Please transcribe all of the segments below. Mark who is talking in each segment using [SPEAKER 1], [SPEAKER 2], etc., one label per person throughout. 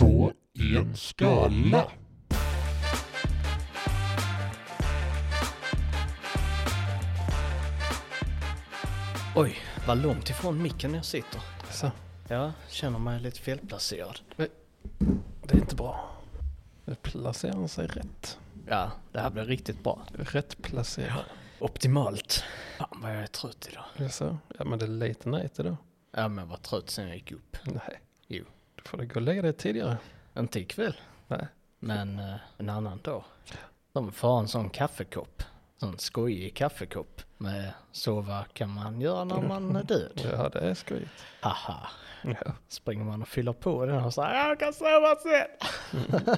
[SPEAKER 1] Mm.
[SPEAKER 2] i en skala.
[SPEAKER 1] Oj, vad långt ifrån micken jag sitter.
[SPEAKER 3] Så.
[SPEAKER 1] Jag känner mig lite felplacerad.
[SPEAKER 3] Det är inte bra. Nu placerar han sig rätt.
[SPEAKER 1] Ja, det här blir riktigt bra.
[SPEAKER 3] Rätt placerad.
[SPEAKER 1] Optimalt. Fan vad jag är trött idag.
[SPEAKER 3] Är det så? Ja men det är late night idag.
[SPEAKER 1] Ja, men jag var trött sen jag gick upp.
[SPEAKER 3] Nej.
[SPEAKER 1] Jo.
[SPEAKER 3] Då får du gå och lägga dig tidigare.
[SPEAKER 1] Inte ikväll,
[SPEAKER 3] Nej.
[SPEAKER 1] men eh, en annan dag. De får en sån kaffekopp. Sån skojig kaffekopp. Med så vad kan man göra när man är död?
[SPEAKER 3] Ja det är skojigt.
[SPEAKER 1] Haha.
[SPEAKER 3] Ja.
[SPEAKER 1] Springer man och fyller på den och säger jag kan sova sen.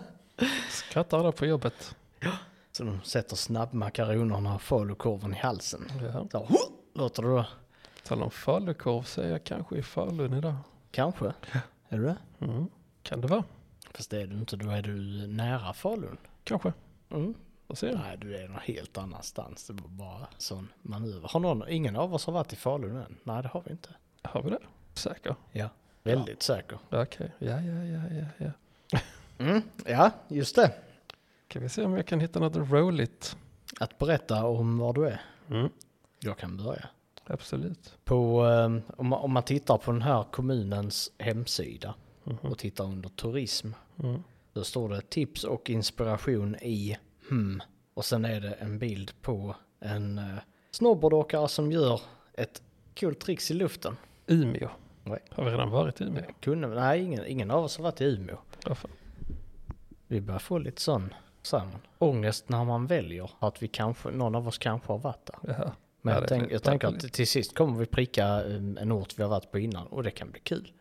[SPEAKER 3] Skrattar alla på jobbet.
[SPEAKER 1] Så de sätter snabbmakaronerna och falukorven i halsen.
[SPEAKER 3] Ja.
[SPEAKER 1] Så, "Huh!" låter det då.
[SPEAKER 3] Talar om falukorv så är jag kanske i Falun idag.
[SPEAKER 1] Kanske. Är du det?
[SPEAKER 3] Mm. Kan det vara?
[SPEAKER 1] Fast det är du inte, då är du nära Falun.
[SPEAKER 3] Kanske.
[SPEAKER 1] Mm.
[SPEAKER 3] Vad säger du?
[SPEAKER 1] Nej, du är någon helt annanstans. Det var bara sån manöver. Har någon, ingen av oss har varit i Falun än? Nej, det har vi inte.
[SPEAKER 3] Har vi det? Säker?
[SPEAKER 1] Ja. Väldigt säker.
[SPEAKER 3] Ja, Okej. Ja, ja, ja, ja, ja.
[SPEAKER 1] Mm, ja, just det.
[SPEAKER 3] Kan vi se om jag kan hitta något roligt?
[SPEAKER 1] Att berätta om var du är.
[SPEAKER 3] Mm.
[SPEAKER 1] Jag kan börja.
[SPEAKER 3] Absolut.
[SPEAKER 1] På, eh, om, man, om man tittar på den här kommunens hemsida och tittar under turism.
[SPEAKER 3] Mm-hmm. Mm.
[SPEAKER 1] Då står det tips och inspiration i hmm. Och sen är det en bild på en eh, snowboardåkare som gör ett kul tricks i luften.
[SPEAKER 3] Umeå.
[SPEAKER 1] Nej.
[SPEAKER 3] Har vi redan varit i Umeå?
[SPEAKER 1] Kunde, nej, ingen, ingen av oss har varit i Umeå.
[SPEAKER 3] Ja, fan.
[SPEAKER 1] Vi börjar få lite sån samman. ångest när man väljer att vi kanske, någon av oss kanske har varit där.
[SPEAKER 3] Ja.
[SPEAKER 1] Men
[SPEAKER 3] Ja, det
[SPEAKER 1] jag,
[SPEAKER 3] är
[SPEAKER 1] tänk,
[SPEAKER 3] lite
[SPEAKER 1] jag tänker att
[SPEAKER 3] pampigt.
[SPEAKER 1] till sist kommer vi pricka eh, en ort vi har varit på innan och det kan bli kul.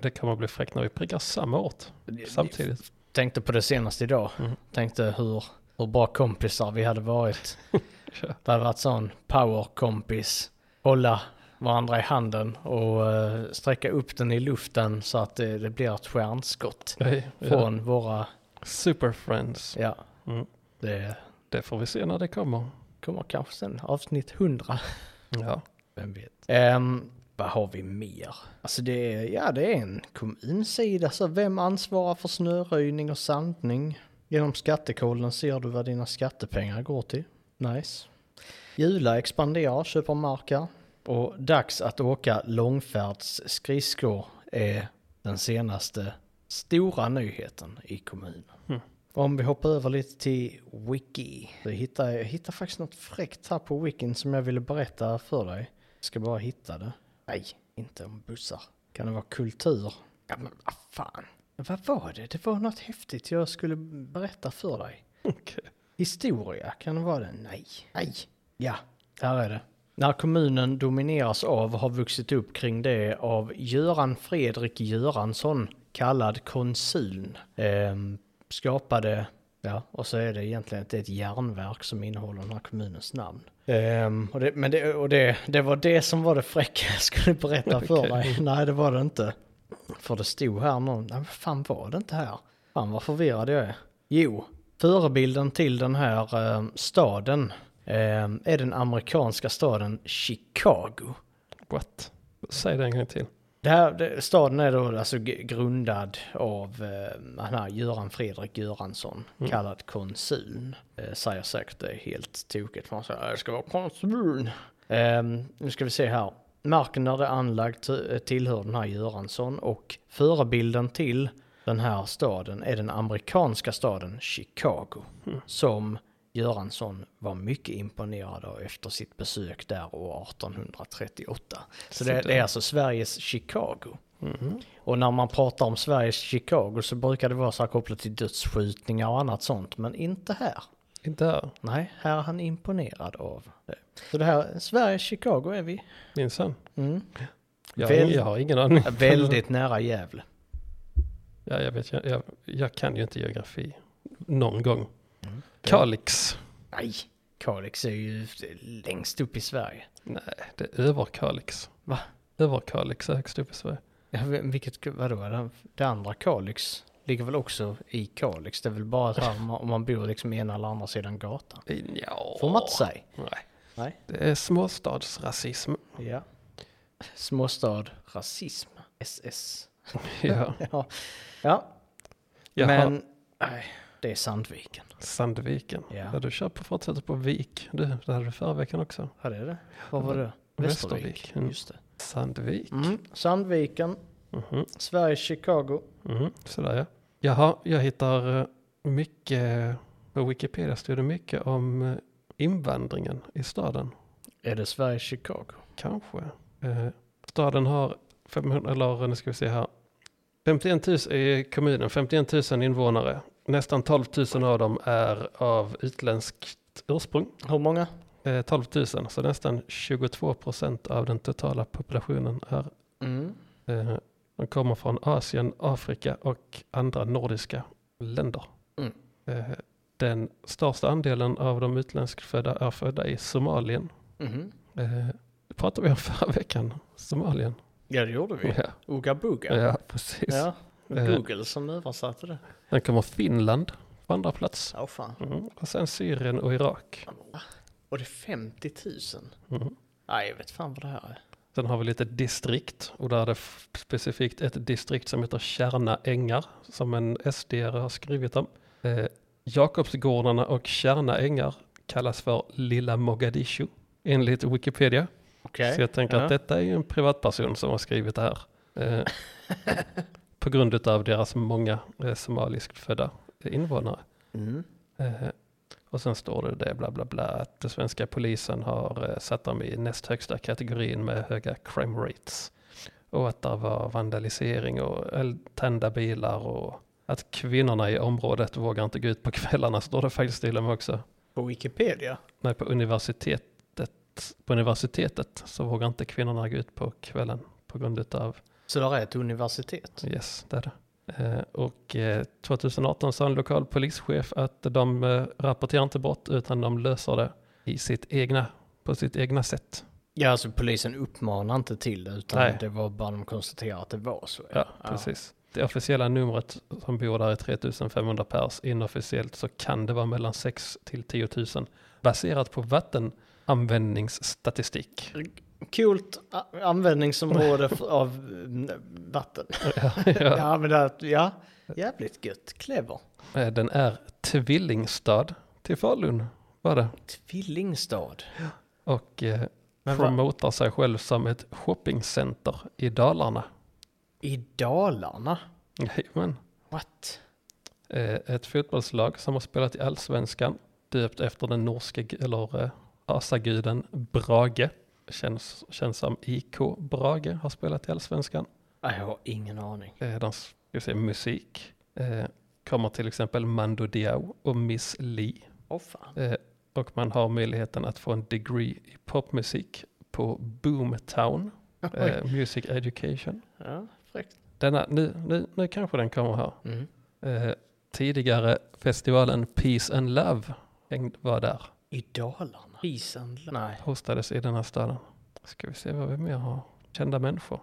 [SPEAKER 3] Det kommer bli fräckt när vi prickar samma ort samtidigt.
[SPEAKER 1] Tänkte på det senast idag.
[SPEAKER 3] Mm.
[SPEAKER 1] Tänkte hur, hur bra kompisar vi hade varit.
[SPEAKER 3] Ja.
[SPEAKER 1] Det hade varit sån powerkompis. Hålla varandra i handen och eh, sträcka upp den i luften så att det, det blir ett stjärnskott.
[SPEAKER 3] Nej, ja.
[SPEAKER 1] Från våra,
[SPEAKER 3] Superfriends.
[SPEAKER 1] ja.
[SPEAKER 3] Mm.
[SPEAKER 1] Det
[SPEAKER 3] Det får vi se när det kommer.
[SPEAKER 1] kommer kanske sen avsnitt 100.
[SPEAKER 3] Ja.
[SPEAKER 1] Vem vet. Ehm, vad har vi mer? Alltså det är, ja det är en kommunsida. Så vem ansvarar för snöröjning och sandning? Genom skattekollen ser du vad dina skattepengar går till. Nice. Jula expanderar, köper mark här. Och dags att åka långfärdsskridskor är den senaste stora nyheten i kommunen. Om vi hoppar över lite till Wiki. Så hittar jag, jag hittar faktiskt något fräckt här på Wikin som jag ville berätta för dig. Jag ska bara hitta det. Nej, inte om bussar. Kan det vara kultur? Ja, men vad fan. Vad var det? Det var något häftigt jag skulle berätta för dig.
[SPEAKER 3] Okej.
[SPEAKER 1] Historia, kan det vara det? Nej. Nej. Ja, här är det. När kommunen domineras av har vuxit upp kring det av Göran Fredrik Göransson, kallad konsuln, ehm, skapade, ja, och så är det egentligen det är ett järnverk som innehåller den här kommunens namn. Ehm, och det, men det, och det, det var det som var det fräcka jag skulle berätta för
[SPEAKER 3] Okej.
[SPEAKER 1] dig. Nej, det var det inte. För det stod här någon, nej vad fan var det inte här? Fan vad förvirrad jag är. Jo, förebilden till den här eh, staden eh, är den amerikanska staden Chicago.
[SPEAKER 3] What? Säg det en gång till.
[SPEAKER 1] Det här, det, staden är då alltså g- grundad av eh, den här Göran Fredrik Göransson, kallad konsuln. Eh, säger säkert det är helt tokigt, för han säger jag ska vara konsuln. Eh, nu ska vi se här. Marken där det är anlagt eh, tillhör den här Göransson och förebilden till den här staden är den amerikanska staden Chicago. Som Göransson var mycket imponerad av efter sitt besök där år 1838. Så det, det är alltså Sveriges Chicago.
[SPEAKER 3] Mhm.
[SPEAKER 1] Och när man pratar om Sveriges Chicago så brukar det vara så här kopplat till dödsskjutningar och annat sånt, men inte här.
[SPEAKER 3] Inte här.
[SPEAKER 1] Nej, här är han imponerad av det. Så det här, Sveriges Chicago är vi.
[SPEAKER 3] Minsann.
[SPEAKER 1] Mm.
[SPEAKER 3] Jag, har
[SPEAKER 1] Väl-
[SPEAKER 3] ingen- jag har ingen aning.
[SPEAKER 1] Väldigt nära Gävle.
[SPEAKER 3] Ja, jag, vet, jag, jag, jag kan ju inte geografi. Någon gång.
[SPEAKER 1] Mm.
[SPEAKER 3] Kalix.
[SPEAKER 1] Nej, Kalix är ju längst upp i Sverige.
[SPEAKER 3] Nej, det är Överkalix.
[SPEAKER 1] Va?
[SPEAKER 3] Överkalix är högst upp i Sverige.
[SPEAKER 1] Ja, Vilket, vadå, det- det andra Kalix ligger väl också i Kalix? Det är väl bara så här om man- om man bor liksom ena eller andra sidan gatan.
[SPEAKER 3] Ja.
[SPEAKER 1] Får man inte säga.
[SPEAKER 3] Nej.
[SPEAKER 1] Nej.
[SPEAKER 3] Det är småstadsrasism.
[SPEAKER 1] Ja. Småstad rasism. SS.
[SPEAKER 3] Ja.
[SPEAKER 1] Ja. ja.
[SPEAKER 3] Jaha,
[SPEAKER 1] Men nej, det är Sandviken.
[SPEAKER 3] Sandviken.
[SPEAKER 1] Ja.
[SPEAKER 3] Ja. du kör på fortsätter på Vik. Du, det hade du förra veckan också.
[SPEAKER 1] Ja, det är det. Vad var det?
[SPEAKER 3] Västervik.
[SPEAKER 1] Västervik.
[SPEAKER 3] Mm.
[SPEAKER 1] Just det.
[SPEAKER 3] Sandvik.
[SPEAKER 1] Mm. Sandviken,
[SPEAKER 3] Mhm.
[SPEAKER 1] Sverige, Chicago.
[SPEAKER 3] Mm, sådär ja. Jaha, jag hittar eh, mycket, på Wikipedia står det mycket om eh, invandringen i staden.
[SPEAKER 1] Är det Sverige, Chicago?
[SPEAKER 3] Kanske. Eh, staden har 500, eller nu ska vi se här. 51 000 i kommunen, 51 000 invånare. Nästan 12 000 av dem är av utländskt ursprung.
[SPEAKER 1] Hur många?
[SPEAKER 3] Eh, 12 000, så nästan 22 procent av den totala populationen är
[SPEAKER 1] Mm.
[SPEAKER 3] Eh, De kommer från Asien, Afrika och andra nordiska länder.
[SPEAKER 1] Mm.
[SPEAKER 3] Eh, Den största andelen av de utländskfödda är födda i Somalien.
[SPEAKER 1] Mhm.
[SPEAKER 3] Eh, Det pratade vi om förra veckan, Somalien.
[SPEAKER 1] Ja, det gjorde vi.
[SPEAKER 3] Ja,
[SPEAKER 1] Uga Buga.
[SPEAKER 3] ja precis.
[SPEAKER 1] Ja.
[SPEAKER 3] Eh.
[SPEAKER 1] Google som översatte det.
[SPEAKER 3] Sen kommer Finland på andra plats.
[SPEAKER 1] Ja, fan.
[SPEAKER 3] Mm. Och sen Syrien och Irak.
[SPEAKER 1] Och det är 50 000.
[SPEAKER 3] Mm.
[SPEAKER 1] Nej, jag vet fan vad det här är.
[SPEAKER 3] Sen har vi lite distrikt och där är det f- specifikt ett distrikt som heter Kärna ängar som en sd har skrivit om. Eh, Jakobsgårdarna och Kärna ängar kallas för Lilla Mogadishu enligt Wikipedia.
[SPEAKER 1] Okej.
[SPEAKER 3] Så jag tänker
[SPEAKER 1] ja.
[SPEAKER 3] att detta är ju en privatperson som har skrivit det här. Eh, på grund av deras många eh, somaliskt födda invånare.
[SPEAKER 1] Mm.
[SPEAKER 3] Eh, Och sen står det det bla bla bla att den svenska polisen har eh, satt dem i näst högsta kategorin med höga crime rates. Och att det var vandalisering och el- tända bilar och att kvinnorna i området vågar inte gå ut på kvällarna står det faktiskt till och med också.
[SPEAKER 1] På Wikipedia?
[SPEAKER 3] Nej, på universitetet, på universitetet så vågar inte kvinnorna gå ut på kvällen på grund av
[SPEAKER 1] Så det här är ett universitet?
[SPEAKER 3] Yes, det är det. Eh, Och eh, 2018 sa en lokal polischef att de eh, rapporterar inte brott utan de löser det i sitt egna, på sitt egna sätt.
[SPEAKER 1] Ja, alltså polisen uppmanar inte till det utan
[SPEAKER 3] Nej.
[SPEAKER 1] det var bara de konstaterar att det var så.
[SPEAKER 3] Ja, precis. Det officiella numret som bor där är 3500 pers. Inofficiellt så kan det vara mellan 6 till 10 000 baserat på vattenanvändningsstatistik.
[SPEAKER 1] Coolt a- användningsområde för- av mm, vatten. Ja.
[SPEAKER 3] Ja.
[SPEAKER 1] men det, ja, jävligt gött. Clever.
[SPEAKER 3] Eh, Den är tvillingstad till Falun var det.
[SPEAKER 1] Tvillingstad.
[SPEAKER 3] Och eh,
[SPEAKER 1] Men va-
[SPEAKER 3] promotar sig själv som ett shoppingcenter i Dalarna.
[SPEAKER 1] I Dalarna?
[SPEAKER 3] Jajamän.
[SPEAKER 1] What?
[SPEAKER 3] Eh, Ett fotbollslag som har spelat i allsvenskan, döpt efter den norske gu- eller eh, asaguden Brage. Känns, känns som IK Brage har spelat i allsvenskan.
[SPEAKER 1] Nej, Jag har ingen aning.
[SPEAKER 3] Eh, De ska vi se musik. Eh, Kommer till exempel Mando Diao och Miss Li.
[SPEAKER 1] Åh fan.
[SPEAKER 3] Eh, Och man har möjligheten att få en degree i popmusik på Boomtown eh, Music Education.
[SPEAKER 1] Ja, fräckt.
[SPEAKER 3] Denna, nu, nu, nu kanske den kommer här.
[SPEAKER 1] Mm.
[SPEAKER 3] Eh, tidigare festivalen Peace and Love hängd- var där.
[SPEAKER 1] I Dalarna? Isen? Nej.
[SPEAKER 3] Hostades i den här staden. Ska vi se vad vi mer har. Kända människor.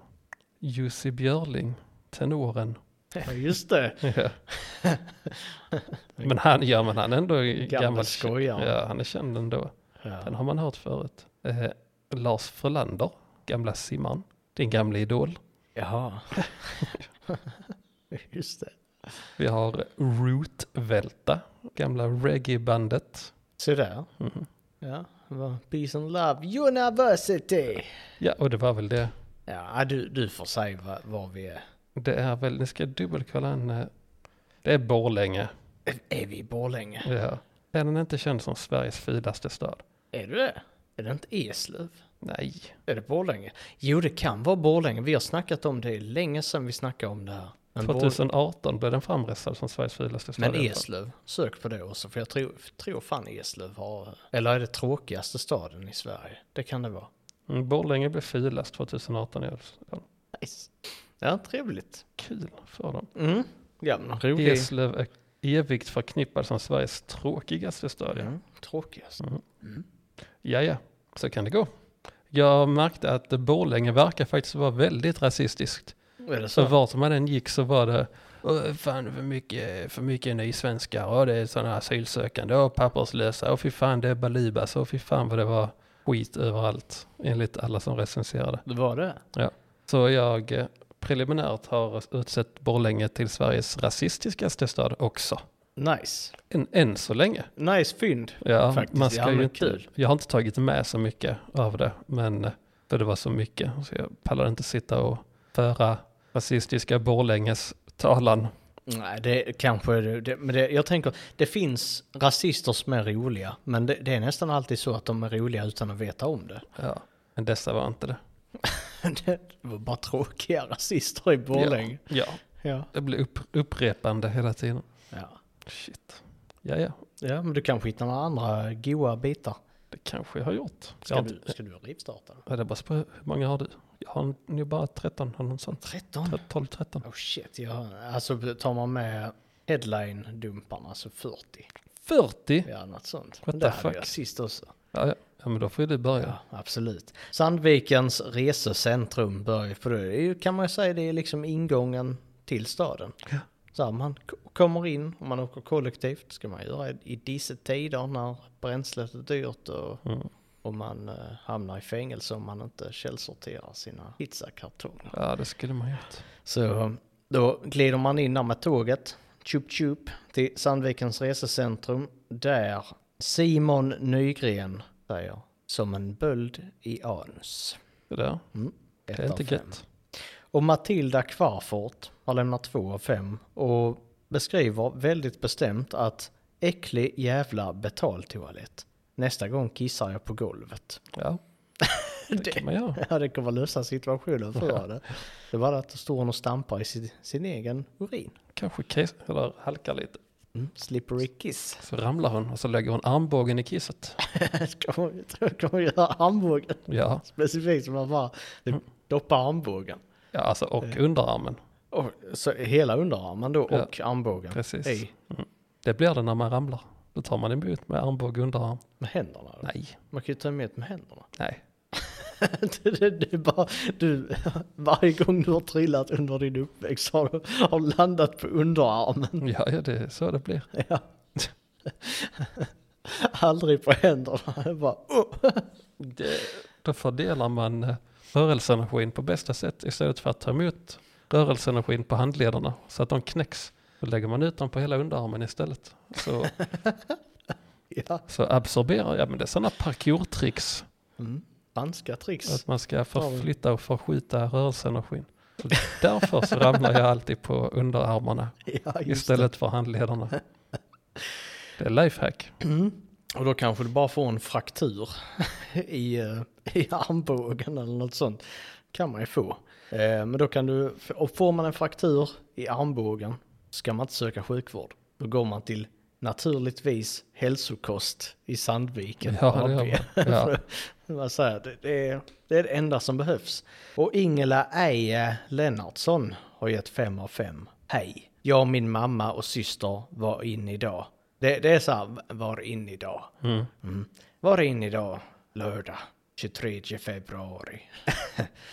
[SPEAKER 3] Jussi Björling, tenoren.
[SPEAKER 1] Ja, just det.
[SPEAKER 3] men han, ja men han är ändå
[SPEAKER 1] Gammal
[SPEAKER 3] gammal.
[SPEAKER 1] skojare.
[SPEAKER 3] Ja, han är känd ändå. Den har man hört förut. Eh, Lars Frölander, gamla simman. Din gamla idol.
[SPEAKER 1] Jaha. Just det.
[SPEAKER 3] Vi har Rootvälta, gamla reggae-bandet.
[SPEAKER 1] Så där.
[SPEAKER 3] Mhm.
[SPEAKER 1] Ja, det var Peace and Love University.
[SPEAKER 3] Ja, och det var väl det.
[SPEAKER 1] Ja, du, du får säga var, var vi är.
[SPEAKER 3] Det är väl, nu ska jag dubbelkolla en. eh, Det är Borlänge.
[SPEAKER 1] Är- Är vi i Borlänge?
[SPEAKER 3] Ja. Är den inte känd som Sveriges fulaste stad?
[SPEAKER 1] Är du det? Är det inte Eslöv?
[SPEAKER 3] Nej.
[SPEAKER 1] Är det Borlänge? Jo, det kan vara Borlänge. Vi har snackat om det länge sedan vi snackade om det här. Men, Borl-
[SPEAKER 3] 2018 blev den framröstad som Sveriges fulaste stad.
[SPEAKER 1] men
[SPEAKER 3] i alla fall.
[SPEAKER 1] Eslöv, sök på det också. För jag tror, tror fan Eslöv har... Eller är det tråkigaste staden i Sverige? Det kan det vara.
[SPEAKER 3] Mm, Borlänge blev fulast 2018. i alla fall.
[SPEAKER 1] Nice. Ja, trevligt.
[SPEAKER 3] Kul för dem.
[SPEAKER 1] Mm. Ja, men rolig.
[SPEAKER 3] Eslöv är evigt förknippad som Sveriges tråkigaste stad. ja.
[SPEAKER 1] Mm. Tråkigast.
[SPEAKER 3] Ja, ja, så kan det gå. Jag märkte att Borlänge verkar faktiskt vara väldigt rasistiskt.
[SPEAKER 1] Är det
[SPEAKER 3] Så
[SPEAKER 1] så?
[SPEAKER 3] vart man än gick så var det "Åh, fan för mycket, för mycket nysvenskar och det är sådana asylsökande och papperslösa och fy fan det är balibas och fy fan vad det var skit överallt enligt alla som recenserade.
[SPEAKER 1] Det var det?
[SPEAKER 3] Så jag eh, preliminärt har utsett Borlänge till Sveriges rasistiskaste stad också.
[SPEAKER 1] Nice.
[SPEAKER 3] Än, än så länge.
[SPEAKER 1] Nice fynd.
[SPEAKER 3] Ja,
[SPEAKER 1] Faktiskt,
[SPEAKER 3] man
[SPEAKER 1] ja,
[SPEAKER 3] ska
[SPEAKER 1] men
[SPEAKER 3] ju inte,
[SPEAKER 1] kul.
[SPEAKER 3] jag har inte tagit med så mycket av det, men eh, för det var så mycket. Så jag pallar inte sitta och föra rasistiska Borlänges talan.
[SPEAKER 1] Nej, det kanske är det. det men det, jag tänker, det finns rasister som är roliga, men det, det är nästan alltid så att de är roliga utan att veta om det.
[SPEAKER 3] Ja. Men dessa var inte det.
[SPEAKER 1] det var bara tråkiga rasister i Borlänge.
[SPEAKER 3] Ja,
[SPEAKER 1] Ja.
[SPEAKER 3] det blir upp, upprepande hela tiden.
[SPEAKER 1] Ja.
[SPEAKER 3] Shit. Ja, ja,
[SPEAKER 1] ja, men du kanske hittar några andra goa bitar.
[SPEAKER 3] det kanske jag har gjort. Jag
[SPEAKER 1] Ska
[SPEAKER 3] har inte-
[SPEAKER 1] du, ska du rivstarta?
[SPEAKER 3] Ja, det är bara spö- hur många har du? Jag har nu bara 13, har någon sånt.
[SPEAKER 1] 13?
[SPEAKER 3] 12-13.
[SPEAKER 1] Oh shit, jag, alltså tar man med headline-dumparna så 40.
[SPEAKER 3] 40?
[SPEAKER 1] Ja, något sånt.
[SPEAKER 3] What
[SPEAKER 1] Men det
[SPEAKER 3] the
[SPEAKER 1] hade
[SPEAKER 3] fuck?
[SPEAKER 1] jag sist också.
[SPEAKER 3] Ja, ja. ja, men då får ju du börja.
[SPEAKER 1] Ja, absolut. Sandvikens resecentrum börjar ju på det. det. är ju, Kan man ju säga det är liksom ingången till staden. Så här, man k- kommer in och man åker kollektivt. ska man göra i- i dessa tider när bränslet är dyrt och,
[SPEAKER 3] Mm.
[SPEAKER 1] och man eh, hamnar i fängelse om man inte källsorterar sina pizzakartonger.
[SPEAKER 3] Ja, det skulle man gjort.
[SPEAKER 1] Så då glider man in där med tåget, tjup tjup, till Sandvikens resecentrum där Simon Nygren säger som en böld i anus.
[SPEAKER 3] Det där,
[SPEAKER 1] Ett
[SPEAKER 3] det är
[SPEAKER 1] av
[SPEAKER 3] inte
[SPEAKER 1] fem.
[SPEAKER 3] gött.
[SPEAKER 1] Och Matilda Kvarfort har lämnat två av fem och beskriver väldigt bestämt att äcklig jävla betaltoalett. Nästa gång kissar jag på golvet.
[SPEAKER 3] Ja, det kan man göra.
[SPEAKER 1] Ja, det kommer lösa situationen för henne. Det var att då står hon och stampar i sin, sin egen urin.
[SPEAKER 3] Kanske kiss, eller halkar lite.
[SPEAKER 1] Mm. Slippery kiss.
[SPEAKER 3] Så ramlar hon och så lägger hon armbågen i kisset.
[SPEAKER 1] Ska man, ska man göra armbågen?
[SPEAKER 3] Ja,
[SPEAKER 1] Specifikt som man bara typ,
[SPEAKER 3] Mm.
[SPEAKER 1] doppar armbågen.
[SPEAKER 3] ja alltså och underarmen.
[SPEAKER 1] Och, så hela underarmen då
[SPEAKER 3] Ja,
[SPEAKER 1] och armbågen
[SPEAKER 3] precis.
[SPEAKER 1] i
[SPEAKER 3] Det blir det när man ramlar. Då tar man emot med armbåge och underarm.
[SPEAKER 1] med händerna. då.
[SPEAKER 3] Nej,
[SPEAKER 1] Man kan ju ta emot med händerna.
[SPEAKER 3] nej.
[SPEAKER 1] det, det, det är bara, du, varje gång du har trillat under din uppväxt har du har landat på underarmen.
[SPEAKER 3] Ja, ja det är så det blir.
[SPEAKER 1] Ja. Aldrig på händerna. Det är Bara, oh.
[SPEAKER 3] Det, då fördelar man eh, rörelseenergin på bästa sätt istället för att ta emot rörelseenergin på handlederna så att de knäcks. Då lägger man ut dem på hela underarmen istället. Så,
[SPEAKER 1] ja.
[SPEAKER 3] så absorberar, ja men det är sådana parkourtricks.
[SPEAKER 1] mm. Spanska tricks.
[SPEAKER 3] Att man ska
[SPEAKER 1] Tar vi.
[SPEAKER 3] förflytta och förskjuta rörelseenergin. Så därför så ramlar jag alltid på underarmarna
[SPEAKER 1] Ja, just det.
[SPEAKER 3] istället för handlederna. Det är lifehack.
[SPEAKER 1] Och då kanske du bara får en fraktur i, eh, i armbågen eller något sånt. Kan man ju få. Eh, Men då kan du, och får man en fraktur i armbågen ska man inte söka sjukvård. Då går man till naturligtvis hälsokost i Sandviken.
[SPEAKER 3] Ja, det gör
[SPEAKER 1] AB.
[SPEAKER 3] man. Ja.
[SPEAKER 1] Man säger, det, det, är, det är det enda som behövs. Och Ingela Eje Lennartsson har gett fem av fem. Hej, jag och min mamma och syster var in idag. Det, det är så här, var in idag. Mm. Var in idag, lördag, 23 februari.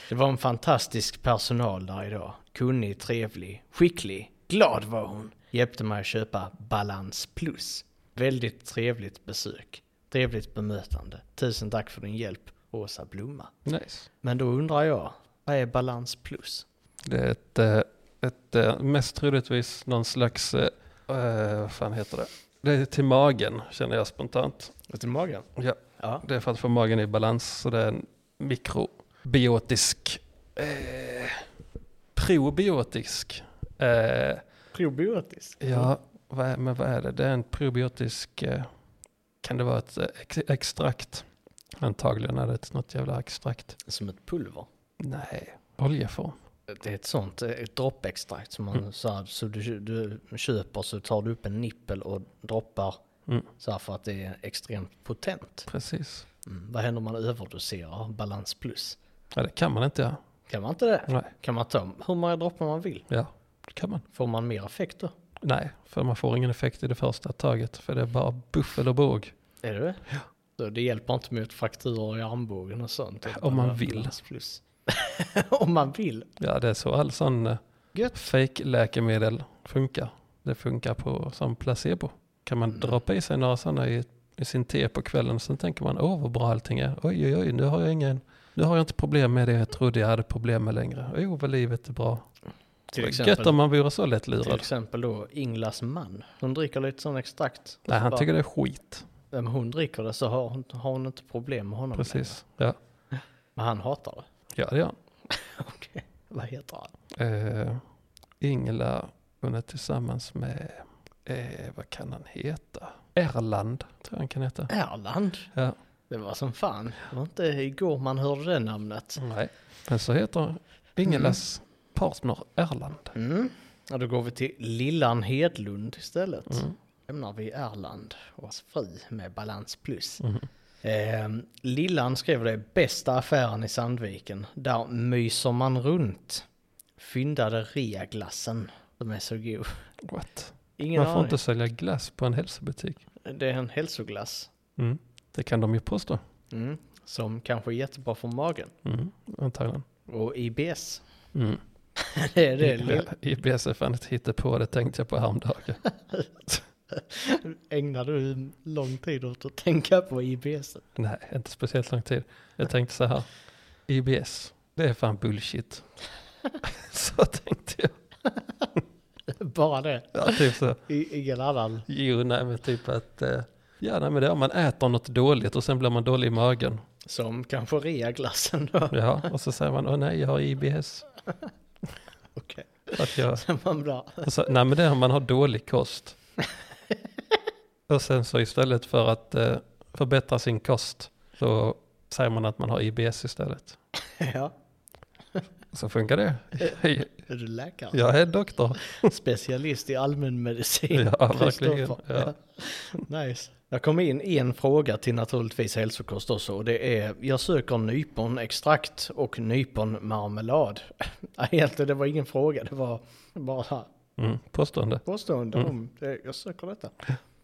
[SPEAKER 1] det var en fantastisk personal där idag. Kunnig, trevlig, skicklig, glad var hon. Hjälpte mig att köpa Balans Plus. Väldigt trevligt besök. Trevligt bemötande. Tusen tack för din hjälp, Åsa Blomma.
[SPEAKER 3] Nice.
[SPEAKER 1] Men då undrar jag, vad är Balans Plus?
[SPEAKER 3] Det är ett, eh, ett eh, mest troligtvis någon slags, eh, eh, vad fan heter det? Det är till magen känner jag spontant.
[SPEAKER 1] Vet du magen?
[SPEAKER 3] Ja,
[SPEAKER 1] Ja.
[SPEAKER 3] det är för att få magen i balans. Så det är en mikrobiotisk, eh, probiotisk. Eh,
[SPEAKER 1] Probiotisk?
[SPEAKER 3] ja, vad är, men vad är det? Det är en probiotisk, eh, kan det vara ett eh, ex, extrakt? Antagligen är det ett- något jävla extrakt.
[SPEAKER 1] Som ett pulver?
[SPEAKER 3] Nej, oljeform.
[SPEAKER 1] Det är ett sånt, eh, ett droppextrakt som
[SPEAKER 3] Mm.
[SPEAKER 1] man så, här, så du, du köper så tar du upp en nippel och droppar
[SPEAKER 3] Mm.
[SPEAKER 1] så här för att det är extremt potent.
[SPEAKER 3] Precis.
[SPEAKER 1] Mm. Vad händer om man överdoserar balans plus?
[SPEAKER 3] Ja, det kan man inte göra.
[SPEAKER 1] Kan man inte det?
[SPEAKER 3] Nej.
[SPEAKER 1] Kan man ta hur många droppar man vill?
[SPEAKER 3] Ja, det kan man.
[SPEAKER 1] Får man mer effekt då?
[SPEAKER 3] Nej, för man får ingen effekt i det första taget. För det är bara buffel och båg.
[SPEAKER 1] Är det det? Ja. Så det hjälper inte mot frakturer i armbågen och sånt?
[SPEAKER 3] Om man vill.
[SPEAKER 1] Balans plus. om man vill?
[SPEAKER 3] Ja, det är så all sån eh,
[SPEAKER 1] Gött.
[SPEAKER 3] fake-läkemedel funkar. Det funkar på som placebo. Kan
[SPEAKER 1] Mm.
[SPEAKER 3] man droppa i sig några sådana i, i sin te på kvällen så tänker man åh vad bra allting är. Oj, oj, oj, nu har jag ingen Nu har jag inte problem med det jag trodde jag hade problem med längre. Jo, vad livet är bra.
[SPEAKER 1] Till
[SPEAKER 3] Gött
[SPEAKER 1] exempel,
[SPEAKER 3] om man vore så lätt
[SPEAKER 1] till
[SPEAKER 3] lurad.
[SPEAKER 1] exempel då Inglas man. Hon dricker lite sån extrakt.
[SPEAKER 3] Nej,
[SPEAKER 1] Så
[SPEAKER 3] han
[SPEAKER 1] bara,
[SPEAKER 3] tycker det är skit.
[SPEAKER 1] Om hon dricker det så har hon, har hon inte problem med honom. längre.
[SPEAKER 3] Precis. Ja,
[SPEAKER 1] Men han hatar det.
[SPEAKER 3] ja det gör han.
[SPEAKER 1] Okej. Vad heter han?
[SPEAKER 3] Eh, Ingela, hon är tillsammans med, eh, vad kan han heta? Erland, tror jag han kan heta.
[SPEAKER 1] Erland.
[SPEAKER 3] Ja.
[SPEAKER 1] Det var som fan. Det var inte igår man hörde det namnet.
[SPEAKER 3] Nej, men så heter Ingelas partner Erland.
[SPEAKER 1] Mm. Ja, då går vi till Lillan Hedlund istället.
[SPEAKER 3] Mm.
[SPEAKER 1] lämnar vi Erland och hans fru med Balans Plus.
[SPEAKER 3] Mhm.
[SPEAKER 1] Eh, Lillan skrev det bästa affären i Sandviken. Där myser man runt. Fyndade reaglassen. De är så god.
[SPEAKER 3] What?
[SPEAKER 1] Ingen
[SPEAKER 3] Man får
[SPEAKER 1] aning.
[SPEAKER 3] inte sälja glass på en hälsobutik.
[SPEAKER 1] Det är en hälsoglass.
[SPEAKER 3] Mm. Det kan de ju påstå.
[SPEAKER 1] Mm. Som kanske är jättebra för magen.
[SPEAKER 3] Mm. Antagligen.
[SPEAKER 1] Och IBS.
[SPEAKER 3] Mm.
[SPEAKER 1] det är det. Lill-
[SPEAKER 3] Ja, IBS är fan ett hittepå, det tänkte jag på häromdagen.
[SPEAKER 1] Ägnar du lång tid åt att tänka på IBS?
[SPEAKER 3] Nej, inte speciellt lång tid. Jag tänkte så här, IBS, det är fan bullshit. så tänkte jag.
[SPEAKER 1] Bara det.
[SPEAKER 3] Ja, typ så.
[SPEAKER 1] I, ingen annan.
[SPEAKER 3] Jo, nej men typ att, eh, ja nej men det är om man äter något dåligt och sen blir man dålig i magen.
[SPEAKER 1] Som kanske reaglassen då.
[SPEAKER 3] Ja, och så säger man, åh nej, jag har IBS.
[SPEAKER 1] Okej.
[SPEAKER 3] För Att jag,
[SPEAKER 1] Man blir...
[SPEAKER 3] och så, nej men det är om man har dålig kost. Och sen så istället för att eh, förbättra sin kost så säger man att man har IBS istället.
[SPEAKER 1] Ja.
[SPEAKER 3] Så funkar det.
[SPEAKER 1] Är du läkare?
[SPEAKER 3] Jag är doktor.
[SPEAKER 1] Specialist i allmänmedicin.
[SPEAKER 3] Ja, verkligen.
[SPEAKER 1] Kristoffer.
[SPEAKER 3] Ja.
[SPEAKER 1] Nice. Jag kom in en fråga till naturligtvis hälsokost också och det är jag söker nyponextrakt och nyponmarmelad. Nej, Egentligen det var ingen fråga, det var bara
[SPEAKER 3] Mm, påstående.
[SPEAKER 1] påstående
[SPEAKER 3] Mm.
[SPEAKER 1] om det. Jag söker detta.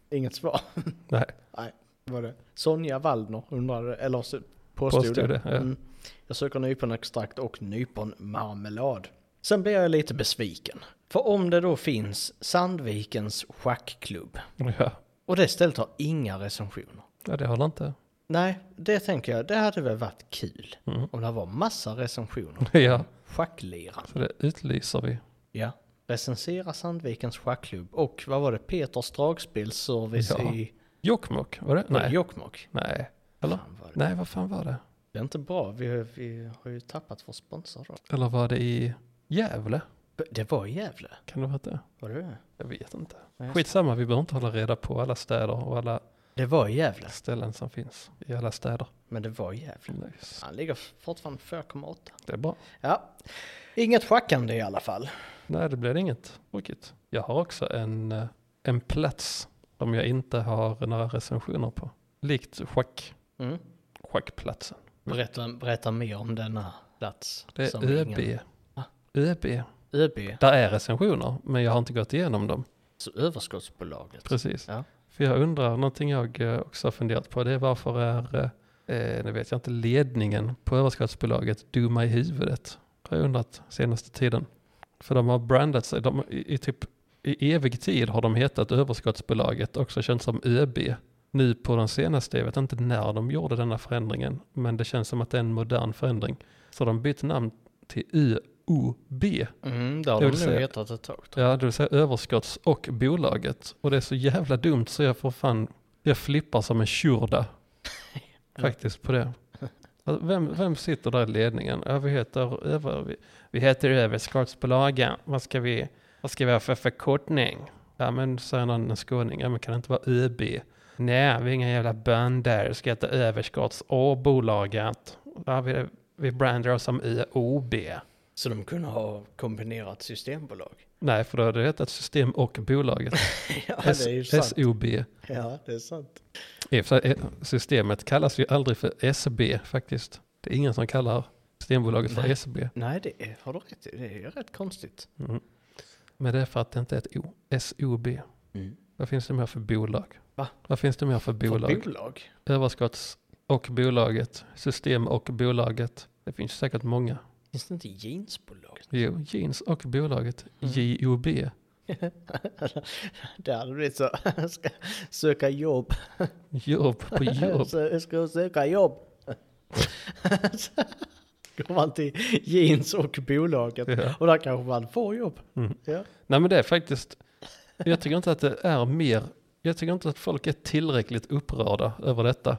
[SPEAKER 1] Inget svar.
[SPEAKER 3] Nej,
[SPEAKER 1] Var det? Sonja Wallner undrade, eller så- påstod,
[SPEAKER 3] påstod det. Ja.
[SPEAKER 1] Mm. Jag söker nyponextrakt och nyponmarmelad. Sen blir jag lite besviken. För om det då finns Sandvikens schackklubb
[SPEAKER 3] Ja.
[SPEAKER 1] och det stället har inga recensioner.
[SPEAKER 3] ja, det håller inte.
[SPEAKER 1] Nej, det tänker jag, det hade väl varit kul
[SPEAKER 3] Mm.
[SPEAKER 1] om det var massa recensioner.
[SPEAKER 3] Ja,
[SPEAKER 1] Schackliran.
[SPEAKER 3] så det utlyser vi.
[SPEAKER 1] Ja. Recensera Sandvikens schackklubb och vad var det, Peters dragspelsservice
[SPEAKER 3] Ja.
[SPEAKER 1] i
[SPEAKER 3] Jokkmokk, var det?
[SPEAKER 1] var det
[SPEAKER 3] Nej.
[SPEAKER 1] Jokkmokk.
[SPEAKER 3] Nej. Eller?
[SPEAKER 1] Fan, var det-
[SPEAKER 3] Nej, vad fan var det?
[SPEAKER 1] Det är inte bra, vi, vi har ju tappat vår sponsor då.
[SPEAKER 3] Eller var det i Gävle?
[SPEAKER 1] Det var i Gävle,
[SPEAKER 3] Kan det vara det?
[SPEAKER 1] var det det?
[SPEAKER 3] Jag vet inte.
[SPEAKER 1] Nej, jag-
[SPEAKER 3] Skitsamma, vi behöver inte hålla reda på alla städer och alla
[SPEAKER 1] Det var i Gävle.
[SPEAKER 3] ställen som finns i alla städer.
[SPEAKER 1] Men det var jävligt.
[SPEAKER 3] Nice.
[SPEAKER 1] Han ligger fortfarande 4,8.
[SPEAKER 3] Det är bra.
[SPEAKER 1] Ja. Inget schackande i alla fall.
[SPEAKER 3] Nej, det blir inget tråkigt. Jag har också en, eh, en plats som jag inte har några recensioner på. Likt schack,
[SPEAKER 1] Mm.
[SPEAKER 3] schackplatsen.
[SPEAKER 1] Berätta, berätta mer om denna plats.
[SPEAKER 3] Det
[SPEAKER 1] som
[SPEAKER 3] är ÖB.
[SPEAKER 1] ingen- Ah. Va?
[SPEAKER 3] ÖB.
[SPEAKER 1] ÖB,
[SPEAKER 3] Där är recensioner, men jag har inte gått igenom dem.
[SPEAKER 1] alltså överskottsbolaget.
[SPEAKER 3] Precis.
[SPEAKER 1] Ja.
[SPEAKER 3] För jag undrar, någonting jag eh, också har funderat på, det är varför är, eh, eh, nu vet jag inte, ledningen på överskottsbolaget dumma i huvudet? Har jag undrat senaste tiden. För de har brandat sig, de, i, i typ i evig tid har de hetat överskottsbolaget, också känt som ÖB. Nu på den senaste, jag vet inte när de gjorde denna förändringen, men det känns som att det är en modern förändring. Så de bytt namn till UOB.
[SPEAKER 1] Mm, det har
[SPEAKER 3] Jag
[SPEAKER 1] de
[SPEAKER 3] vill
[SPEAKER 1] nog
[SPEAKER 3] säga-
[SPEAKER 1] hetat ett tag. tror
[SPEAKER 3] Ja, det vill säga överskotts och bolaget. Och det är så jävla dumt så jag får fan, jag flippar som en tjurda. Faktiskt på det. Alltså, Vem, vem sitter där i ledningen? Ja, vi, heter, över, vi, vi heter överskottsbolagen. Vad ska vi, vad ska vi ha för förkortning? Ja men säger någon en skåning, ja men kan det inte vara ÖB? Nej, vi är inga jävla bönder, ska heta överskotts och bolaget. Ja, vi, vi brandar oss som ÖOB.
[SPEAKER 1] jag. Så de kunde ha kombinerat systembolag.
[SPEAKER 3] Nej, för då hade det hetat system och bolaget.
[SPEAKER 1] ja, det är ju sant.
[SPEAKER 3] SOB.
[SPEAKER 1] Ja, det är sant.
[SPEAKER 3] I och för sig, eh, Systemet kallas ju aldrig för SB faktiskt. Det är ingen som kallar Systembolaget för
[SPEAKER 1] Nej.
[SPEAKER 3] SB.
[SPEAKER 1] Nej, det är, har du rätt i. Det är rätt konstigt.
[SPEAKER 3] Mm. Men det är för att det inte är ett O. SOB.
[SPEAKER 1] Mm.
[SPEAKER 3] Vad finns det mer för bolag?
[SPEAKER 1] Va?
[SPEAKER 3] Vad finns det mer för bolag?
[SPEAKER 1] För bolag?
[SPEAKER 3] Överskotts och bolaget. System och bolaget. Det finns säkert många.
[SPEAKER 1] Finns det inte jeansbolag?
[SPEAKER 3] Jo, jeans och bolaget.
[SPEAKER 1] Mm.
[SPEAKER 3] JOB.
[SPEAKER 1] det hade blivit så. ska söka jobb.
[SPEAKER 3] Jobb på jobb.
[SPEAKER 1] Så jag ska söka jobb. Går man till jeans och bolaget.
[SPEAKER 3] Ja.
[SPEAKER 1] Och där kanske man får jobb.
[SPEAKER 3] Mm.
[SPEAKER 1] Ja.
[SPEAKER 3] Nej men det är faktiskt, jag tycker inte att det är mer, jag tycker inte att folk är tillräckligt upprörda över detta.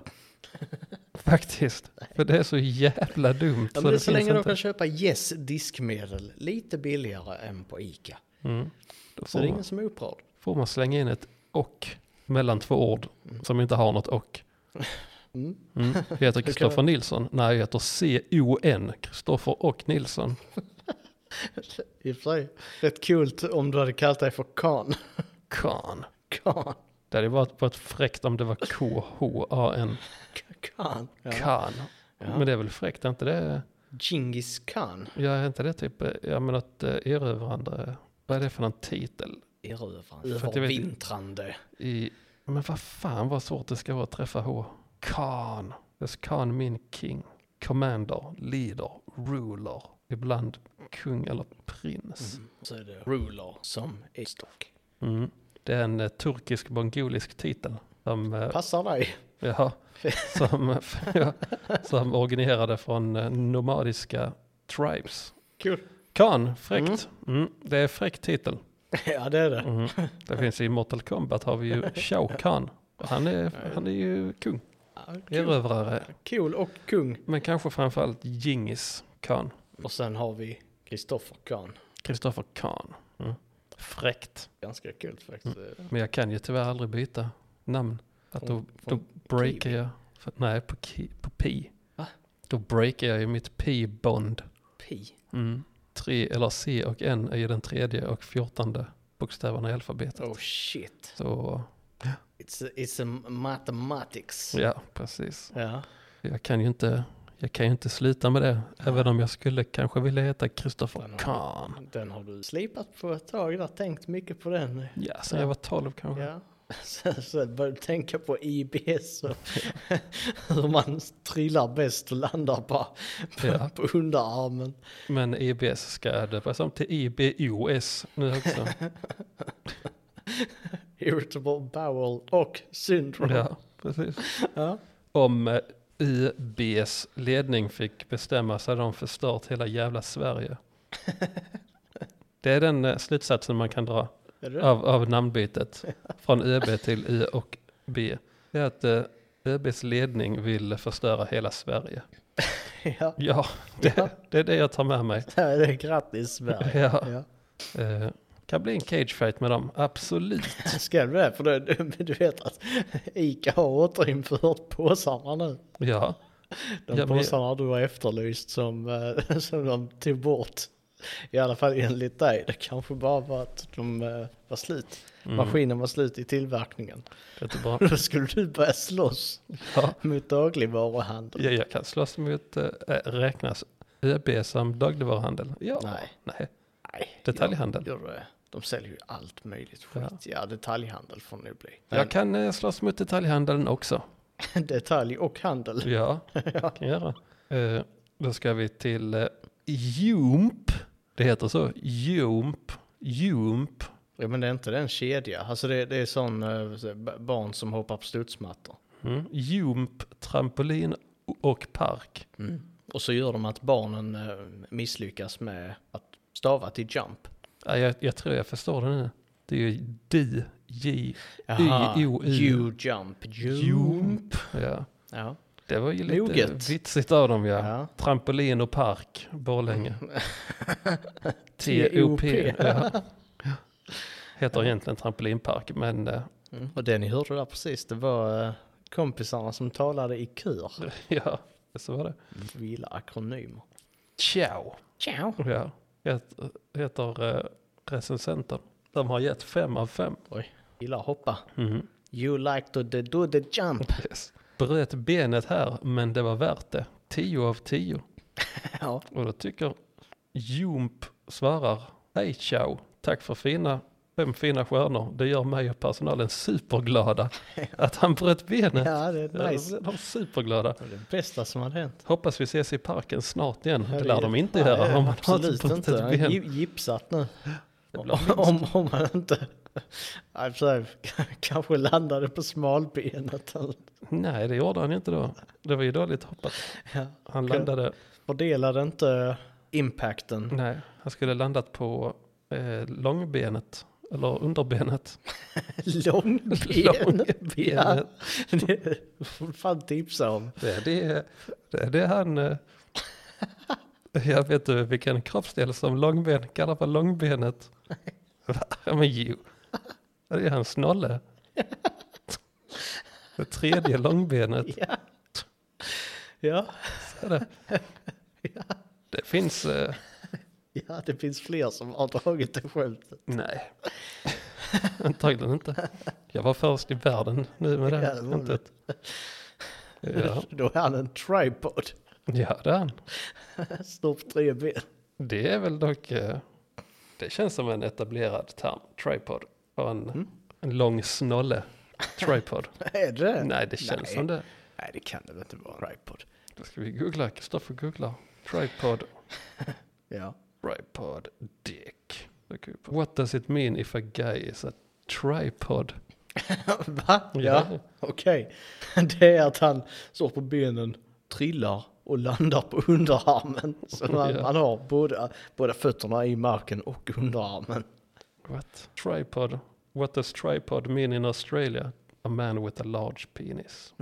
[SPEAKER 3] Faktiskt. För det är så jävla dumt.
[SPEAKER 1] Ja, men det är så
[SPEAKER 3] finns
[SPEAKER 1] länge de
[SPEAKER 3] inte.
[SPEAKER 1] kan köpa Yes diskmedel lite billigare än på Ica.
[SPEAKER 3] Mm. Då
[SPEAKER 1] Så
[SPEAKER 3] får,
[SPEAKER 1] det är
[SPEAKER 3] man,
[SPEAKER 1] ingen som är upprörd.
[SPEAKER 3] får man slänga in ett och mellan två ord som inte har något och.
[SPEAKER 1] Mm.
[SPEAKER 3] Mm. Jag heter Kristoffer Nilsson. Nej, jag heter C-O-N. Kristoffer och Nilsson.
[SPEAKER 1] I och för sig rätt kul om du hade kallat dig för Khan.
[SPEAKER 3] Kan.
[SPEAKER 1] Khan.
[SPEAKER 3] Det hade varit, varit fräckt om det var K-H-A-N.
[SPEAKER 1] Khan. Ja.
[SPEAKER 3] Kan.
[SPEAKER 1] Ja.
[SPEAKER 3] Men det är väl fräckt, är inte det?
[SPEAKER 1] Genghis Khan.
[SPEAKER 3] Ja, är inte det typ, eh, ja men att eh, erövrande, vad är det för någon titel?
[SPEAKER 1] Erövrande.
[SPEAKER 3] För att jag vet-
[SPEAKER 1] Övervintrande.
[SPEAKER 3] I, men vad fan vad svårt det ska vara att träffa H. Khan, dess Khan min king. Commander, leader, ruler, ibland kung eller prins.
[SPEAKER 1] Mm. Så är det ruler som är stock.
[SPEAKER 3] Mm. Det är en eh, turkisk-mongolisk titel. Som, eh,
[SPEAKER 1] Passar dig.
[SPEAKER 3] ja, som, ja, som originerade från eh, nomadiska tribes.
[SPEAKER 1] Kul.
[SPEAKER 3] Khan, fräckt. Mm, det är fräckt titel.
[SPEAKER 1] Ja det är det.
[SPEAKER 3] Mm. Det finns i Mortal Kombat har vi ju Shao Kahn. Och Han är, han är ju kung,
[SPEAKER 1] Ja, kul.
[SPEAKER 3] erövrare.
[SPEAKER 1] kul och kung.
[SPEAKER 3] Men kanske framförallt Genghis Khan.
[SPEAKER 1] Och sen har vi Kristoffer Khan.
[SPEAKER 3] Kristoffer Khan. Mm. Fräckt.
[SPEAKER 1] Ganska kul faktiskt. Eh,
[SPEAKER 3] Men jag kan ju tyvärr aldrig byta namn. Mm. Att då,
[SPEAKER 1] Från-
[SPEAKER 3] då
[SPEAKER 1] från
[SPEAKER 3] breakar
[SPEAKER 1] Kiwi.
[SPEAKER 3] jag. För, nej, på, ki, på pi.
[SPEAKER 1] Va?
[SPEAKER 3] Då breakar jag ju mitt pi-bond.
[SPEAKER 1] Pi.
[SPEAKER 3] Mm. Tre, eller C och N är ju den tredje och fjortonde bokstäverna i alfabetet.
[SPEAKER 1] Oh shit.
[SPEAKER 3] Så,
[SPEAKER 1] It's a, it's a mathematics.
[SPEAKER 3] ja, precis.
[SPEAKER 1] Ja.
[SPEAKER 3] Jag kan ju inte, jag kan ju inte sluta med det. Även om jag skulle kanske vilja heta Christopher
[SPEAKER 1] Men-
[SPEAKER 3] Kahn.
[SPEAKER 1] Den har du slipat på ett tag där. Tänkt mycket på den.
[SPEAKER 3] Ja, sen jag var 12 kanske.
[SPEAKER 1] Ja. Sen, sen började du tänka på IBS och hur man trillar bäst och landar på, på,
[SPEAKER 3] Ja.
[SPEAKER 1] på underarmen.
[SPEAKER 3] Men IBS ska döpas om till E IBOS nu också.
[SPEAKER 1] Irritable bowel och syndrome.
[SPEAKER 3] ja, precis.
[SPEAKER 1] Ja.
[SPEAKER 3] Om eh, UBs ledning fick bestämma så hade de förstört hela jävla Sverige. Det är den eh, slutsatsen man kan dra
[SPEAKER 1] Är det?
[SPEAKER 3] av, av namnbytet från ÖB till U och B. Det är att eh, ÖBs ledning vill förstöra hela Sverige.
[SPEAKER 1] ja.
[SPEAKER 3] Ja, det,
[SPEAKER 1] Ja.
[SPEAKER 3] det är det jag tar med mig.
[SPEAKER 1] Det här är grattis Sverige.
[SPEAKER 3] Ja.
[SPEAKER 1] Ja.
[SPEAKER 3] Eh, kan bli en cage fight med dem, absolut.
[SPEAKER 1] Ska du det? För det, du vet att Ica har återinfört påsarna nu.
[SPEAKER 3] Ja,
[SPEAKER 1] De
[SPEAKER 3] Ja, men-
[SPEAKER 1] påsarna du har efterlyst som, eh, som de tog bort. I alla fall enligt dig. Det kanske bara var att de eh, var slut. Maskinen var slut i tillverkningen.
[SPEAKER 3] Mm. jättebra.
[SPEAKER 1] Då skulle du börja slåss
[SPEAKER 3] Ja,
[SPEAKER 1] mot dagligvaruhandeln.
[SPEAKER 3] jag, jag kan slåss mot, eh, räknas ÖB som dagligvaruhandel? Ja,
[SPEAKER 1] Nej.
[SPEAKER 3] nej.
[SPEAKER 1] Nej.
[SPEAKER 3] Detaljhandel.
[SPEAKER 1] Gör, gör det. De säljer ju allt möjligt skit.
[SPEAKER 3] Ja.
[SPEAKER 1] Ja, detaljhandel får det nu bli.
[SPEAKER 3] Jag kan eh, slåss mot detaljhandeln också.
[SPEAKER 1] Men Detalj och handel.
[SPEAKER 3] Ja, jag kan göra. Eh, då ska vi till eh, Jump. Det heter så, Jump. Jump.
[SPEAKER 1] Ja, men det är inte den kedja. Alltså det, det är sån eh, så- b- barn som hoppar på studsmattor.
[SPEAKER 3] Mm. Jump, trampolin och park.
[SPEAKER 1] Och så gör de att barnen eh, misslyckas med att stava till jump.
[SPEAKER 3] Ja, jag, jag tror jag förstår det nu. Det är ju D, J, Y, O, U.
[SPEAKER 1] you jump. Jump.
[SPEAKER 3] Jump. Ja.
[SPEAKER 1] Ja.
[SPEAKER 3] Det var ju lite
[SPEAKER 1] Moget.
[SPEAKER 3] vitsigt av dem ja. Mm.
[SPEAKER 1] Ja.
[SPEAKER 3] Trampolin och park, Borlänge.
[SPEAKER 1] T.O.P..
[SPEAKER 3] T-O-P. Ja. Heter egentligen trampolinpark, men eh,
[SPEAKER 1] Mm. Och det ni hörde där precis, det var eh, kompisarna som talade i kör.
[SPEAKER 3] ja, så var det.
[SPEAKER 1] Vi gillar akronymer.
[SPEAKER 3] Ciao.
[SPEAKER 1] Ciao!
[SPEAKER 3] Ja, heter, heter eh, recensenten. De har gett fem av fem.
[SPEAKER 1] Oj, gillar hoppa.
[SPEAKER 3] Mhm.
[SPEAKER 1] You like to the, do the jump.
[SPEAKER 3] Yes. Bröt benet här, men det var värt det. 10 av 10.
[SPEAKER 1] ja.
[SPEAKER 3] Och då tycker Jump svarar, hej ciao, tack för fina, fem fina stjärnor. Det gör mig och personalen superglada att han bröt benet.
[SPEAKER 1] ja, det är nice.
[SPEAKER 3] De de är superglada.
[SPEAKER 1] Det är det bästa som har hänt.
[SPEAKER 3] Hoppas vi ses i parken snart igen. Det
[SPEAKER 1] Herregud.
[SPEAKER 3] lär de inte
[SPEAKER 1] Nej,
[SPEAKER 3] göra om man har typ
[SPEAKER 1] Absolut
[SPEAKER 3] inte brutit
[SPEAKER 1] inte.
[SPEAKER 3] ett ben.
[SPEAKER 1] Gi- Gipsat nu.
[SPEAKER 3] Det blir minst.
[SPEAKER 1] Om, om man inte... Nej, för sig, Kanske landade på smalbenet. eller-
[SPEAKER 3] Nej, det gjorde han ju inte då. Det var ju dåligt hoppat.
[SPEAKER 1] Ja.
[SPEAKER 3] Han
[SPEAKER 1] Okej.
[SPEAKER 3] landade...
[SPEAKER 1] Fördelade inte impacten.
[SPEAKER 3] Nej, han skulle landat på eh, långbenet. Eller underbenet.
[SPEAKER 1] Långben. Ja.
[SPEAKER 3] Långbenet.
[SPEAKER 1] Det får du fan tipsa om.
[SPEAKER 3] Det är det, det, är det han... eh, Jag vet du vilken kroppsdel som långben kallar för långbenet? Va? Ja, men jo. Det är hans snolle. Det tredje långbenet.
[SPEAKER 1] Ja. Ja.
[SPEAKER 3] Så är det. Det finns... eh,
[SPEAKER 1] ja, det finns fler som har dragit det skämtet.
[SPEAKER 3] Nej. Antagligen inte. Jag var först i världen nu med det
[SPEAKER 1] Ja,
[SPEAKER 3] här
[SPEAKER 1] det var
[SPEAKER 3] skämtet. Ja,
[SPEAKER 1] Då är han en tripod.
[SPEAKER 3] ja det är han.
[SPEAKER 1] Står på tre ben.
[SPEAKER 3] Det är väl dock... eh, Det känns som en etablerad term, tripod. Och en, en lång snolle, tripod.
[SPEAKER 1] Är det?
[SPEAKER 3] Nej, det känns som det.
[SPEAKER 1] Nej, det kan det väl inte vara. Tripod.
[SPEAKER 3] Då ska vi googla, Kristoffer googlar. Tripod,
[SPEAKER 1] Ja.
[SPEAKER 3] tripod, dick. Då går vi på- What does it mean if a guy is a tripod?
[SPEAKER 1] Va? Ja. Okej. Det är att han står på benen, trillar och landar på underarmen. Så man,
[SPEAKER 3] Ja.
[SPEAKER 1] man har båda, båda fötterna i marken och underarmen.
[SPEAKER 3] What? Tripod. What does tripod mean in Australia? A man with a large penis.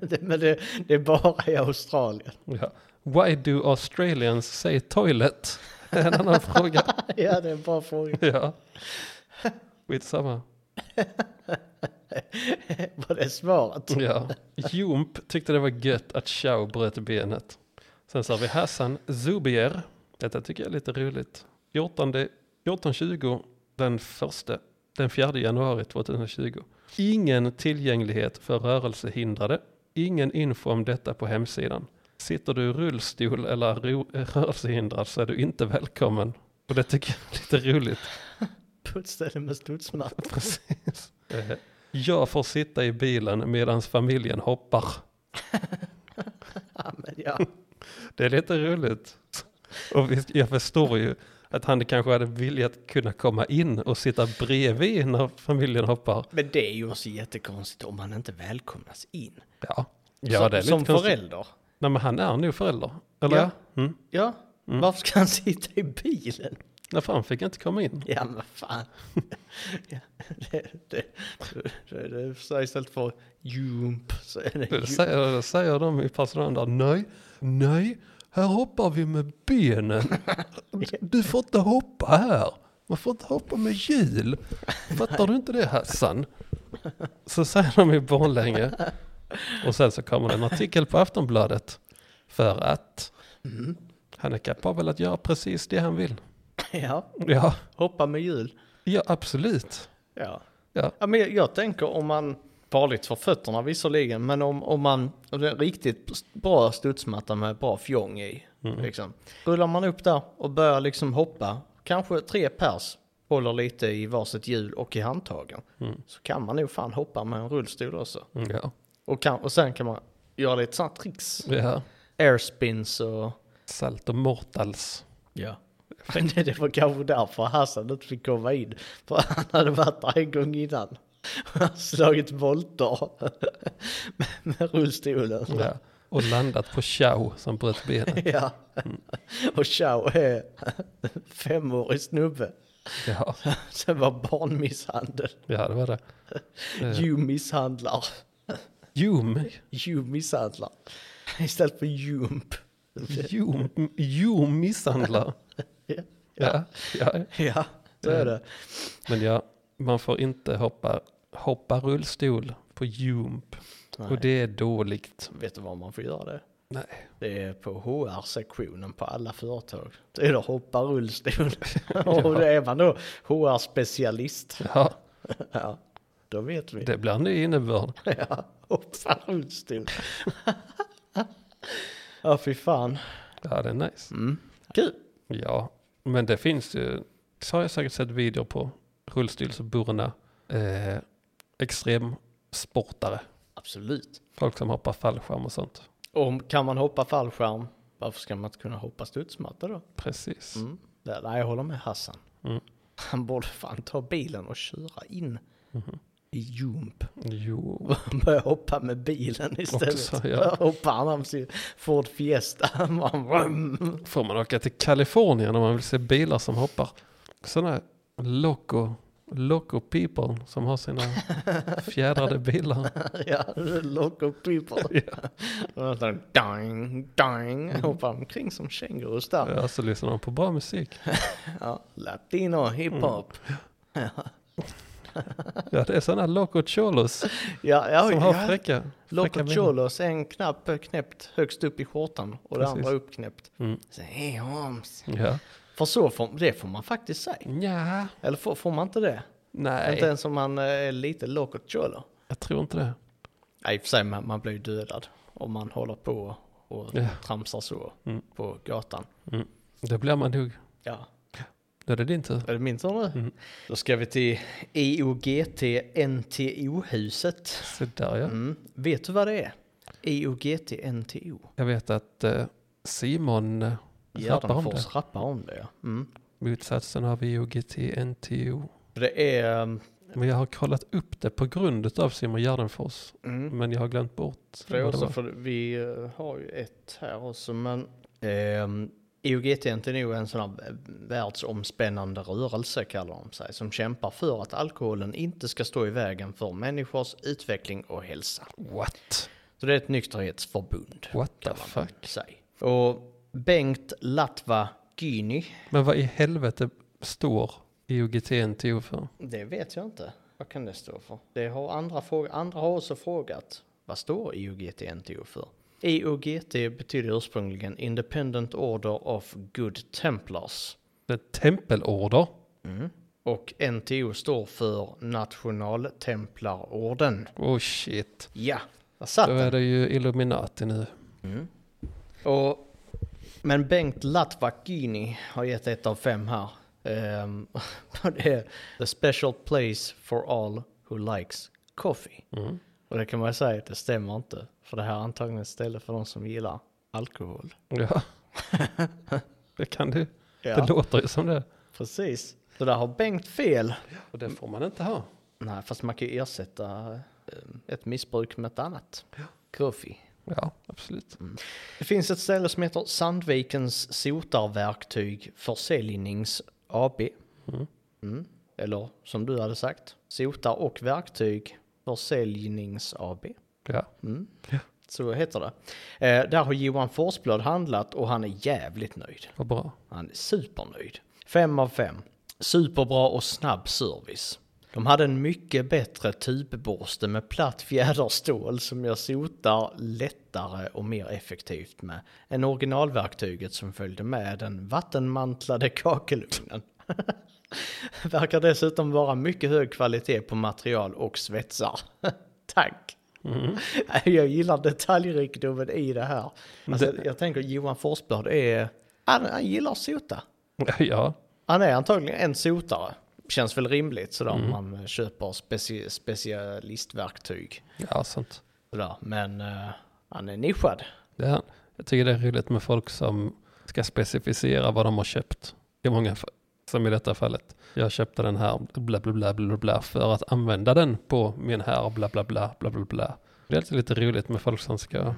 [SPEAKER 1] Det, men det, det är bara i Australien.
[SPEAKER 3] Ja. Why do Australians say toilet? En annan fråga.
[SPEAKER 1] Ja, det är en bra fråga.
[SPEAKER 3] Ja. Skitsamma.
[SPEAKER 1] Vad det är svaret.
[SPEAKER 3] Ja. Jump tyckte det var gött att Chao bröt benet. Sen så har vi Hassan Zubier. Detta tycker jag är lite roligt. 14, 14.20 den första, den 4 januari 2020. Ingen tillgänglighet för rörelsehindrade. Ingen info om detta på hemsidan. Sitter du i rullstol eller är ro- rörelsehindrad så är du inte välkommen. Och det tycker jag är lite roligt.
[SPEAKER 1] På ett ställe med studsmatta.
[SPEAKER 3] Precis. Eh, Jag får sitta i bilen medan familjen hoppar.
[SPEAKER 1] Ja, men ja.
[SPEAKER 3] Det är lite roligt. Och visst, jag förstår ju att han kanske hade velat kunna komma in och sitta bredvid när familjen hoppar.
[SPEAKER 1] Men det är ju också jättekonstigt om man inte välkomnas in.
[SPEAKER 3] Ja, ja
[SPEAKER 1] som
[SPEAKER 3] det är lite
[SPEAKER 1] som
[SPEAKER 3] konstigt.
[SPEAKER 1] förälder.
[SPEAKER 3] Nej, men han är nog förälder. Eller?
[SPEAKER 1] Ja.
[SPEAKER 3] Ja. Mm.
[SPEAKER 1] Ja, varför ska han sitta i bilen?
[SPEAKER 3] Nej, för han fick inte komma in.
[SPEAKER 1] Ja, men vad fan. ja, det, det, det, det, så istället för jump så är det
[SPEAKER 3] Det
[SPEAKER 1] jump.
[SPEAKER 3] säger, det säger de i personalen där. Nej, nej, här hoppar vi med benen. Du får inte hoppa här. Man får inte hoppa med hjul. Fattar du inte det Hassan? Så säger de i Borlänge. Och sen så kommer det en artikel på Aftonbladet. För att han är kapabel att göra precis det han vill.
[SPEAKER 1] Ja,
[SPEAKER 3] Ja,
[SPEAKER 1] hoppa med hjul.
[SPEAKER 3] ja absolut.
[SPEAKER 1] Ja.
[SPEAKER 3] Ja.
[SPEAKER 1] ja, men jag, jag tänker om man, farligt för fötterna visserligen, men om, om man, om det är en riktigt bra studsmatta med bra fjong i, liksom. Rullar man upp där och börjar liksom hoppa, kanske tre pers håller lite i varsitt hjul och i handtagen, så kan man nog fan hoppa med en rullstol också.
[SPEAKER 3] Ja,
[SPEAKER 1] Och, kan, och sen kan man göra lite sådana tricks.
[SPEAKER 3] ja.
[SPEAKER 1] airspins och...
[SPEAKER 3] Salto mortals.
[SPEAKER 1] Ja. Det, det var kanske därför Hassan inte fick komma in. För han hade varit där en gång innan. Och han slagit volter med, med rullstolen.
[SPEAKER 3] Ja. Och landat på Chow som bröt benet.
[SPEAKER 1] Ja. Och Chao är en femårig snubbe.
[SPEAKER 3] Ja.
[SPEAKER 1] Sen var barnmisshandel.
[SPEAKER 3] Ja, det var det. Eh.
[SPEAKER 1] You misshandlar.
[SPEAKER 3] Jum,
[SPEAKER 1] You misshandlar. Istället för jump.
[SPEAKER 3] jum, jum misshandlar.
[SPEAKER 1] Ja.
[SPEAKER 3] Ja, ja.
[SPEAKER 1] Ja, så är det.
[SPEAKER 3] Men ja, man får inte hoppa, hoppa rullstol på jump.
[SPEAKER 1] Nej.
[SPEAKER 3] Och det är dåligt.
[SPEAKER 1] Vet du var man får göra det?
[SPEAKER 3] Nej.
[SPEAKER 1] Det är på HR-sektionen på alla företag. Det är då hoppa rullstol. Och det är man då HR-specialist.
[SPEAKER 3] Ja,
[SPEAKER 1] Ja, då vet vi.
[SPEAKER 3] det blir en ny innebörd.
[SPEAKER 1] Ja, hoppa rullstol. ja, fy fan. Mm.
[SPEAKER 3] Ja, det är nice.
[SPEAKER 1] Kul.
[SPEAKER 3] Ja, men det finns ju, så har jag säkert sett videor på rullstolsburna eh, extremsportare.
[SPEAKER 1] Absolut.
[SPEAKER 3] Folk som hoppar fallskärm och sånt.
[SPEAKER 1] Och kan man hoppa fallskärm, varför ska man inte kunna hoppa studsmatta då?
[SPEAKER 3] Precis.
[SPEAKER 1] Mm. Där, där jag håller med Hassan.
[SPEAKER 3] Mm. Mhm.
[SPEAKER 1] Han borde fan ta bilen och köra in. i Jump.
[SPEAKER 3] Jo,
[SPEAKER 1] Börjar hoppa med bilen istället.
[SPEAKER 3] Också, ja.
[SPEAKER 1] Hoppar han av sin Ford Fiesta. Man bara-
[SPEAKER 3] får man åka till Kalifornien om man vill se bilar som hoppar. Sådana loco, loco people som har sina fjädrade bilar.
[SPEAKER 1] ja, loco people. Och så dang, dang. Hoppar omkring som kängurus där.
[SPEAKER 3] Mm. Ja, så lyssnar de på bra musik.
[SPEAKER 1] Ja, latino, hiphop.
[SPEAKER 3] Ja, det är sådana loco cholos
[SPEAKER 1] Ja, ja,
[SPEAKER 3] Mm. som
[SPEAKER 1] ja.
[SPEAKER 3] har fräcka, fräcka
[SPEAKER 1] Loco
[SPEAKER 3] bilar.
[SPEAKER 1] Cholos, en knapp knäppt högst upp i skjortan och det
[SPEAKER 3] Precis.
[SPEAKER 1] andra uppknäppt.
[SPEAKER 3] Mm.
[SPEAKER 1] Så, hej Holmes.
[SPEAKER 3] Ja.
[SPEAKER 1] För så får, det får man faktiskt säga.
[SPEAKER 3] Nja,
[SPEAKER 1] Eller får, får man inte det? Inte
[SPEAKER 3] nej,
[SPEAKER 1] ens om man eh, är lite Loco Cholo.
[SPEAKER 3] jag tror inte det.
[SPEAKER 1] Nej, i och för sig, man, man blir ju dödad om man håller på och
[SPEAKER 3] Ja.
[SPEAKER 1] tramsar så
[SPEAKER 3] Mm.
[SPEAKER 1] på gatan.
[SPEAKER 3] Då blir man nog.
[SPEAKER 1] Ja,
[SPEAKER 3] Då är det din tur.
[SPEAKER 1] är det min tur nu?
[SPEAKER 3] Mm.
[SPEAKER 1] Då ska vi till E IOGT NTO-huset.
[SPEAKER 3] Så där ja.
[SPEAKER 1] Mm. Vet du vad det är? E IOGT NTO.
[SPEAKER 3] Jag vet att eh, Simon eh, rappar om det.
[SPEAKER 1] Gärdenfors rappar om det, ja. Mm.
[SPEAKER 3] Motsatsen har vi NTO.
[SPEAKER 1] Det är... um,
[SPEAKER 3] Men jag har kollat upp det på grund av Simon Gärdenfors.
[SPEAKER 1] Mm.
[SPEAKER 3] Men jag har glömt bort.
[SPEAKER 1] Det är
[SPEAKER 3] vad det
[SPEAKER 1] också
[SPEAKER 3] var.
[SPEAKER 1] för vi eh, har ju ett här också men ehm, IOGT är nog en sån här världsomspännande rörelse kallar de sig som kämpar för att alkoholen inte ska stå i vägen för människors utveckling och hälsa.
[SPEAKER 3] What?
[SPEAKER 1] Så det är ett nykterhetsförbund
[SPEAKER 3] What the
[SPEAKER 1] kan man
[SPEAKER 3] fuck?
[SPEAKER 1] säga. Och Bengt Latva Gyni,
[SPEAKER 3] Men vad i helvete står IOGT-NTO för?
[SPEAKER 1] det vet jag inte. Vad kan det stå för? Det har andra, fråga, andra har också frågat. Vad står IOGT NTO för? IOGT betyder ursprungligen Independent Order of Good Templars.
[SPEAKER 3] Det är tempelorder.
[SPEAKER 1] Och NTO står för Nationaltemplarorden.
[SPEAKER 3] Oh shit.
[SPEAKER 1] Ja, där satt
[SPEAKER 3] Då
[SPEAKER 1] den.
[SPEAKER 3] är det ju Illuminati nu.
[SPEAKER 1] Och, men Bengt Latvakini har gett ett av fem här. Ehm, och det är The Special Place for All Who Likes Coffee.
[SPEAKER 3] Mm.
[SPEAKER 1] Och det kan man ju säga, det stämmer inte. För det här är antagligen ett ställe för de som gillar alkohol.
[SPEAKER 3] Ja. det kan du.
[SPEAKER 1] Ja,
[SPEAKER 3] Det låter ju som det.
[SPEAKER 1] precis. Så där har Bengt fel.
[SPEAKER 3] Och det får man inte ha.
[SPEAKER 1] Nej, fast man kan ju ersätta eh, ett missbruk med ett annat. Coffee.
[SPEAKER 3] Ja, absolut.
[SPEAKER 1] Det finns ett ställe som heter Sandvikens sotarverktyg försäljnings AB.
[SPEAKER 3] Mm.
[SPEAKER 1] Mm. Eller som du hade sagt, sotar och verktyg försäljnings AB.
[SPEAKER 3] Ja.
[SPEAKER 1] Mm.
[SPEAKER 3] Ja.
[SPEAKER 1] Så heter det. Eh, där har Johan Forsblad handlat och han är jävligt nöjd.
[SPEAKER 3] Vad bra.
[SPEAKER 1] Han är supernöjd. Fem av fem. Superbra och snabb service. De hade en mycket bättre tubborste med platt fjäderstål som jag sotar lättare och mer effektivt med än originalverktyget som följde med den vattenmantlade kakelugnen. Verkar dessutom vara mycket hög kvalitet på material och svetsar. Tack! Jag gillar detaljrikedomen i det här. Alltså, Jag tänker Johan Forsblad är... Han, han gillar att sota.
[SPEAKER 3] Ja.
[SPEAKER 1] Han är antagligen en sotare. Känns väl rimligt sådär om man eh, köper speci- specialistverktyg.
[SPEAKER 3] Ja, sant.
[SPEAKER 1] Sådär. Men eh, han är nischad.
[SPEAKER 3] Det är, jag tycker det är roligt med folk som ska specificera vad de har köpt. I många fall. Som i detta fallet. Jag köpte den här bla bla bla bla bla för att använda den på min här bla bla bla bla bla bla. Det är alltid lite roligt med folk som ska...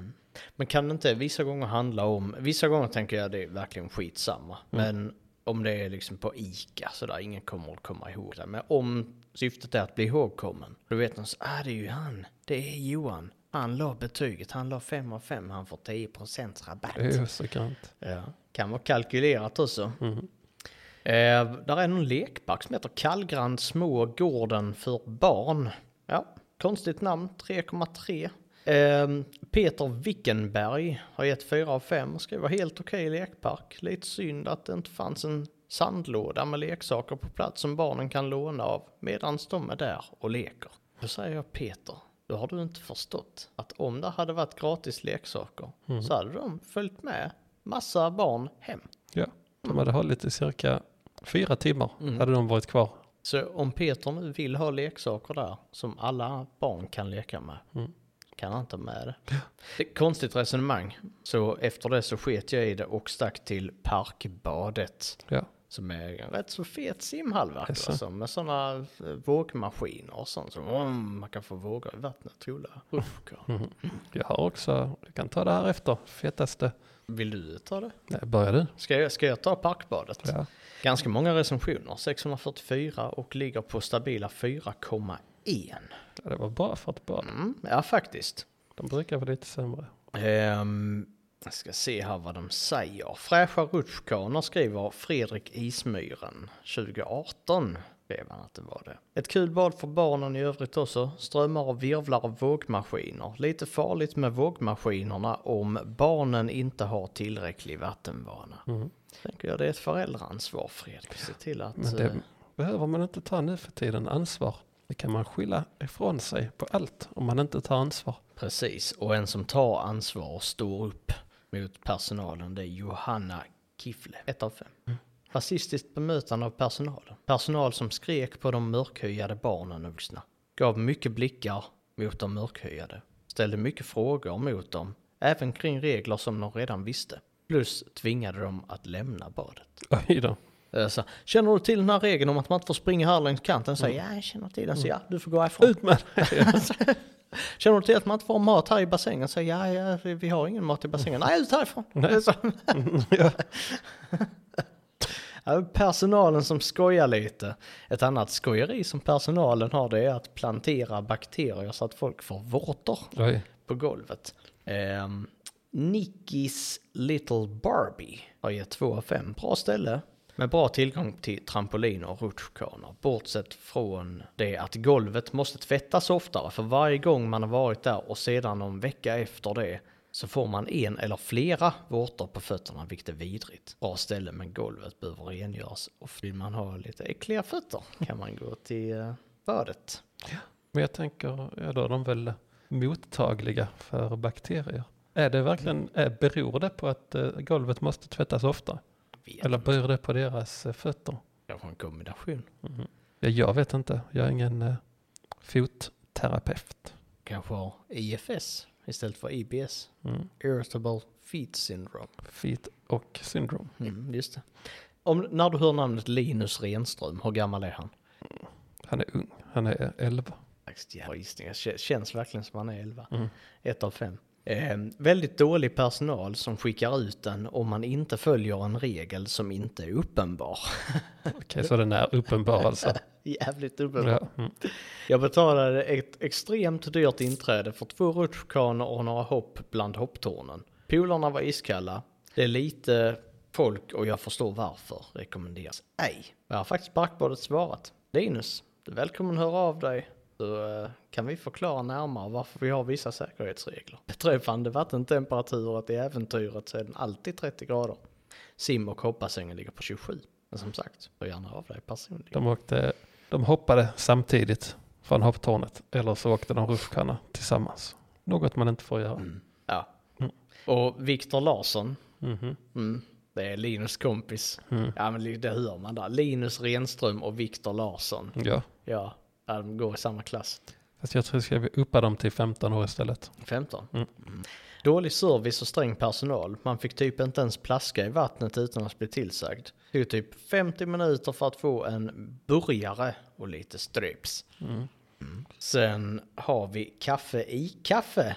[SPEAKER 1] Men kan det inte vissa gånger handla om... Vissa gånger tänker jag det är verkligen skitsamma. Men om det är liksom på ICA sådär, ingen kommer att komma ihåg det. Men om syftet är att bli ihågkommen. Då vet man så, ah det är ju han. Det är Johan. Han la betyget, han la 5 av 5, han får 10% rabatt.
[SPEAKER 3] Det är ju så grant.
[SPEAKER 1] Ja. Kan vara kalkylerat också.
[SPEAKER 3] Mm.
[SPEAKER 1] Eh, där är någon lekpark som heter Kallgrand Små Gården för barn. Ja, konstigt namn, 3,3. Eh, Peter Wickenberg har gett 4 av 5 och skriver helt okej lekpark. Lite synd att det inte fanns en sandlåda med leksaker på plats som barnen kan låna av medan de är där och leker. Då säger jag Peter, då har du inte förstått att om det hade varit gratis leksaker så hade de följt med massa barn hem.
[SPEAKER 3] Ja, de hade hållit i cirka fyra timmar. Hade de varit kvar.
[SPEAKER 1] Så om Peter nu vill ha leksaker där som alla barn kan leka med,
[SPEAKER 3] Mm.
[SPEAKER 1] kan han inte med det. det är ett konstigt resonemang. Så efter det så sket jag i det och stack till parkbadet.
[SPEAKER 3] Ja.
[SPEAKER 1] Som är en rätt så fet simhallvärk
[SPEAKER 3] Jaså?
[SPEAKER 1] alltså, med sådana vågmaskiner och sånt. Så, mm, man kan få vågor i vattnet rulla. Uff, girl.
[SPEAKER 3] Mhm. Jag har också, du kan ta det här efter, fetaste.
[SPEAKER 1] Vill du ta det?
[SPEAKER 3] Nej, börjar du?
[SPEAKER 1] Ska jag, ska jag ta parkbadet?
[SPEAKER 3] Ja.
[SPEAKER 1] Ganska många recensioner, 644 och ligger på stabila 4,1.
[SPEAKER 3] Ja, Det var bra för ett bad.
[SPEAKER 1] Mm, ja, faktiskt.
[SPEAKER 3] De brukar vara lite sämre.
[SPEAKER 1] Ehm, jag ska se här vad de säger. Fräscha rutschkanor skriver Fredrik Ismyren 2018. Skrev han att det var det. Ett kul bad för barnen i övrigt också. Strömmar och virvlar av vågmaskiner. Lite farligt med vågmaskinerna om barnen inte har tillräcklig vattenvana.
[SPEAKER 3] Mm.
[SPEAKER 1] Tänker jag det är ett föräldraansvar Fredrik. Se till att...
[SPEAKER 3] Men det
[SPEAKER 1] eh,
[SPEAKER 3] behöver man inte ta nu för tiden ansvar. Det kan man skylla ifrån sig på allt om man inte tar ansvar.
[SPEAKER 1] Precis, och en som tar ansvar och står upp mot personalen det är Johanna Kiffle, ett av fem. Rasistiskt bemötande av personalen. Personal som skrek på de mörkhyade barnen och vuxna. Gav mycket blickar mot de mörkhyade. Ställde mycket frågor mot dem, även kring regler som de redan visste. Plus tvingade dem att lämna badet.
[SPEAKER 3] Oj då.
[SPEAKER 1] Eh, Så, känner du till den här regeln om att man inte får springa här längs kanten? Så, Ja, jag känner till den, så ja, du får gå härifrån.
[SPEAKER 3] Ut med det.
[SPEAKER 1] Känner du till att man inte får mat här i bassängen? Så ja, ja, vi- vi har ingen mat i bassängen. Nej, ut härifrån!
[SPEAKER 3] Nej.
[SPEAKER 1] Så. Ja, Personalen som skojar lite. Ett annat skojeri som personalen har det är att plantera bakterier så att folk får vårtor
[SPEAKER 3] Oj.
[SPEAKER 1] på golvet. Um, Nickis Little Barbie har gett 2 av 5. Bra ställe. Med bra tillgång till trampoliner och rutschkanor. Bortsett från det att golvet måste tvättas oftare. För varje gång man har varit där och sedan någon vecka efter det så får man en eller flera vårtor på fötterna, vilket är vidrigt. Bra ställe, men golvet behöver rengöras. Och vill man ha lite äckliga fötter kan man gå till eh, badet.
[SPEAKER 3] Men jag tänker, ja då är de väl mottagliga för bakterier. Är det verkligen, är, beror det på att eh, golvet måste tvättas ofta?
[SPEAKER 1] Vet.
[SPEAKER 3] Eller beror det på deras eh, fötter?
[SPEAKER 1] Kanske en kombination.
[SPEAKER 3] Ja, jag vet inte, jag är ingen eh, fotterapeut.
[SPEAKER 1] kanske har IFS istället för IBS.
[SPEAKER 3] Mm.
[SPEAKER 1] Irritable Feet Syndrome.
[SPEAKER 3] Feet och syndrom.
[SPEAKER 1] Mm, just det. Om, när du hör namnet Linus Renström, hur gammal är han?
[SPEAKER 3] Han är ung, han är 11.
[SPEAKER 1] Faktiskt jävla gissningar. Kä- Känns verkligen som han är 11.
[SPEAKER 3] Mm.
[SPEAKER 1] Ett av fem. Eh, väldigt dålig personal som skickar ut en om man inte följer en regel som inte är uppenbar.
[SPEAKER 3] Okej, så den är uppenbar alltså.
[SPEAKER 1] Jävligt uppenbar.
[SPEAKER 3] Ja, mm.
[SPEAKER 1] Jag betalade ett extremt dyrt inträde för två rutschkanor och några hopp bland hopptornen. Polarna var iskalla. Det är lite folk och jag förstår varför. Rekommenderas ej. Jag har faktiskt barkbadet svarat. Linus, du är välkommen att höra av dig. Så eh, kan vi förklara närmare varför vi har vissa säkerhetsregler. Beträffande vattentemperaturen i äventyret så är den alltid 30 grader. Sim och hoppassängen ligger på 27. Men som sagt, hör gärna av dig personligen.
[SPEAKER 3] De, åkte, de hoppade samtidigt från hopptornet eller så åkte de rutschkana tillsammans. Något man inte får göra.
[SPEAKER 1] Ja.
[SPEAKER 3] Mm.
[SPEAKER 1] Och Viktor Larsson,
[SPEAKER 3] Mhm.
[SPEAKER 1] Mm. Det är Linus kompis.
[SPEAKER 3] Mm.
[SPEAKER 1] Ja men li- det hör man där. Linus Renström och Viktor Larsson.
[SPEAKER 3] Ja,
[SPEAKER 1] Ja, ja, de går i samma klass.
[SPEAKER 3] fast jag tror jag ska uppa dem till 15 år istället.
[SPEAKER 1] 15.
[SPEAKER 3] Mm.
[SPEAKER 1] Dålig service och sträng personal. Man fick typ inte ens plaska i vattnet utan att bli tillsagd. Det tog typ 50 minuter för att få en burgare och lite strips.
[SPEAKER 3] Mm.
[SPEAKER 1] Sen har vi kaffe i kaffe.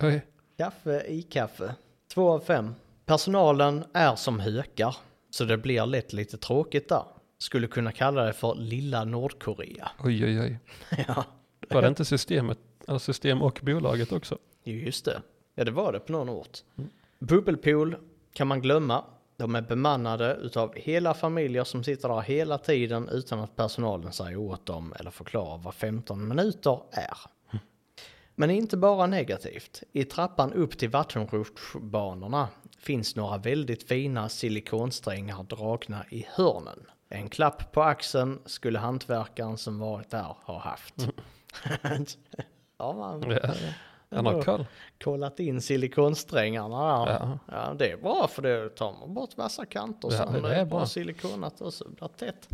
[SPEAKER 3] Oj,
[SPEAKER 1] Kaffe i kaffe. Två av fem. Personalen är som hökar, så det blir lätt lite tråkigt där. Skulle kunna kalla det för lilla Nordkorea.
[SPEAKER 3] oj, oj. oj.
[SPEAKER 1] ja,
[SPEAKER 3] Var det inte systemet, eller system och bolaget också?
[SPEAKER 1] ju just det. Ja, det var det på någon ort. Bubbelpool kan man glömma. De är bemannade utav hela familjer som sitter där hela tiden utan att personalen säger åt dem eller förklarar vad 15 minuter är. Men inte bara negativt. I trappan upp till vattenrutschbanorna finns några väldigt fina silikonsträngar dragna i hörnen. En klapp på axeln skulle hantverkaren som varit där ha haft. ja, man
[SPEAKER 3] Ja. Han har koll.
[SPEAKER 1] kollat in silikonsträngarna där.
[SPEAKER 3] Ja.
[SPEAKER 1] Ja, det är bra för det tar man bort vassa kanter
[SPEAKER 3] Ja,
[SPEAKER 1] så
[SPEAKER 3] det
[SPEAKER 1] det
[SPEAKER 3] är
[SPEAKER 1] är bra
[SPEAKER 3] bra.
[SPEAKER 1] silikonat och så blir det tätt.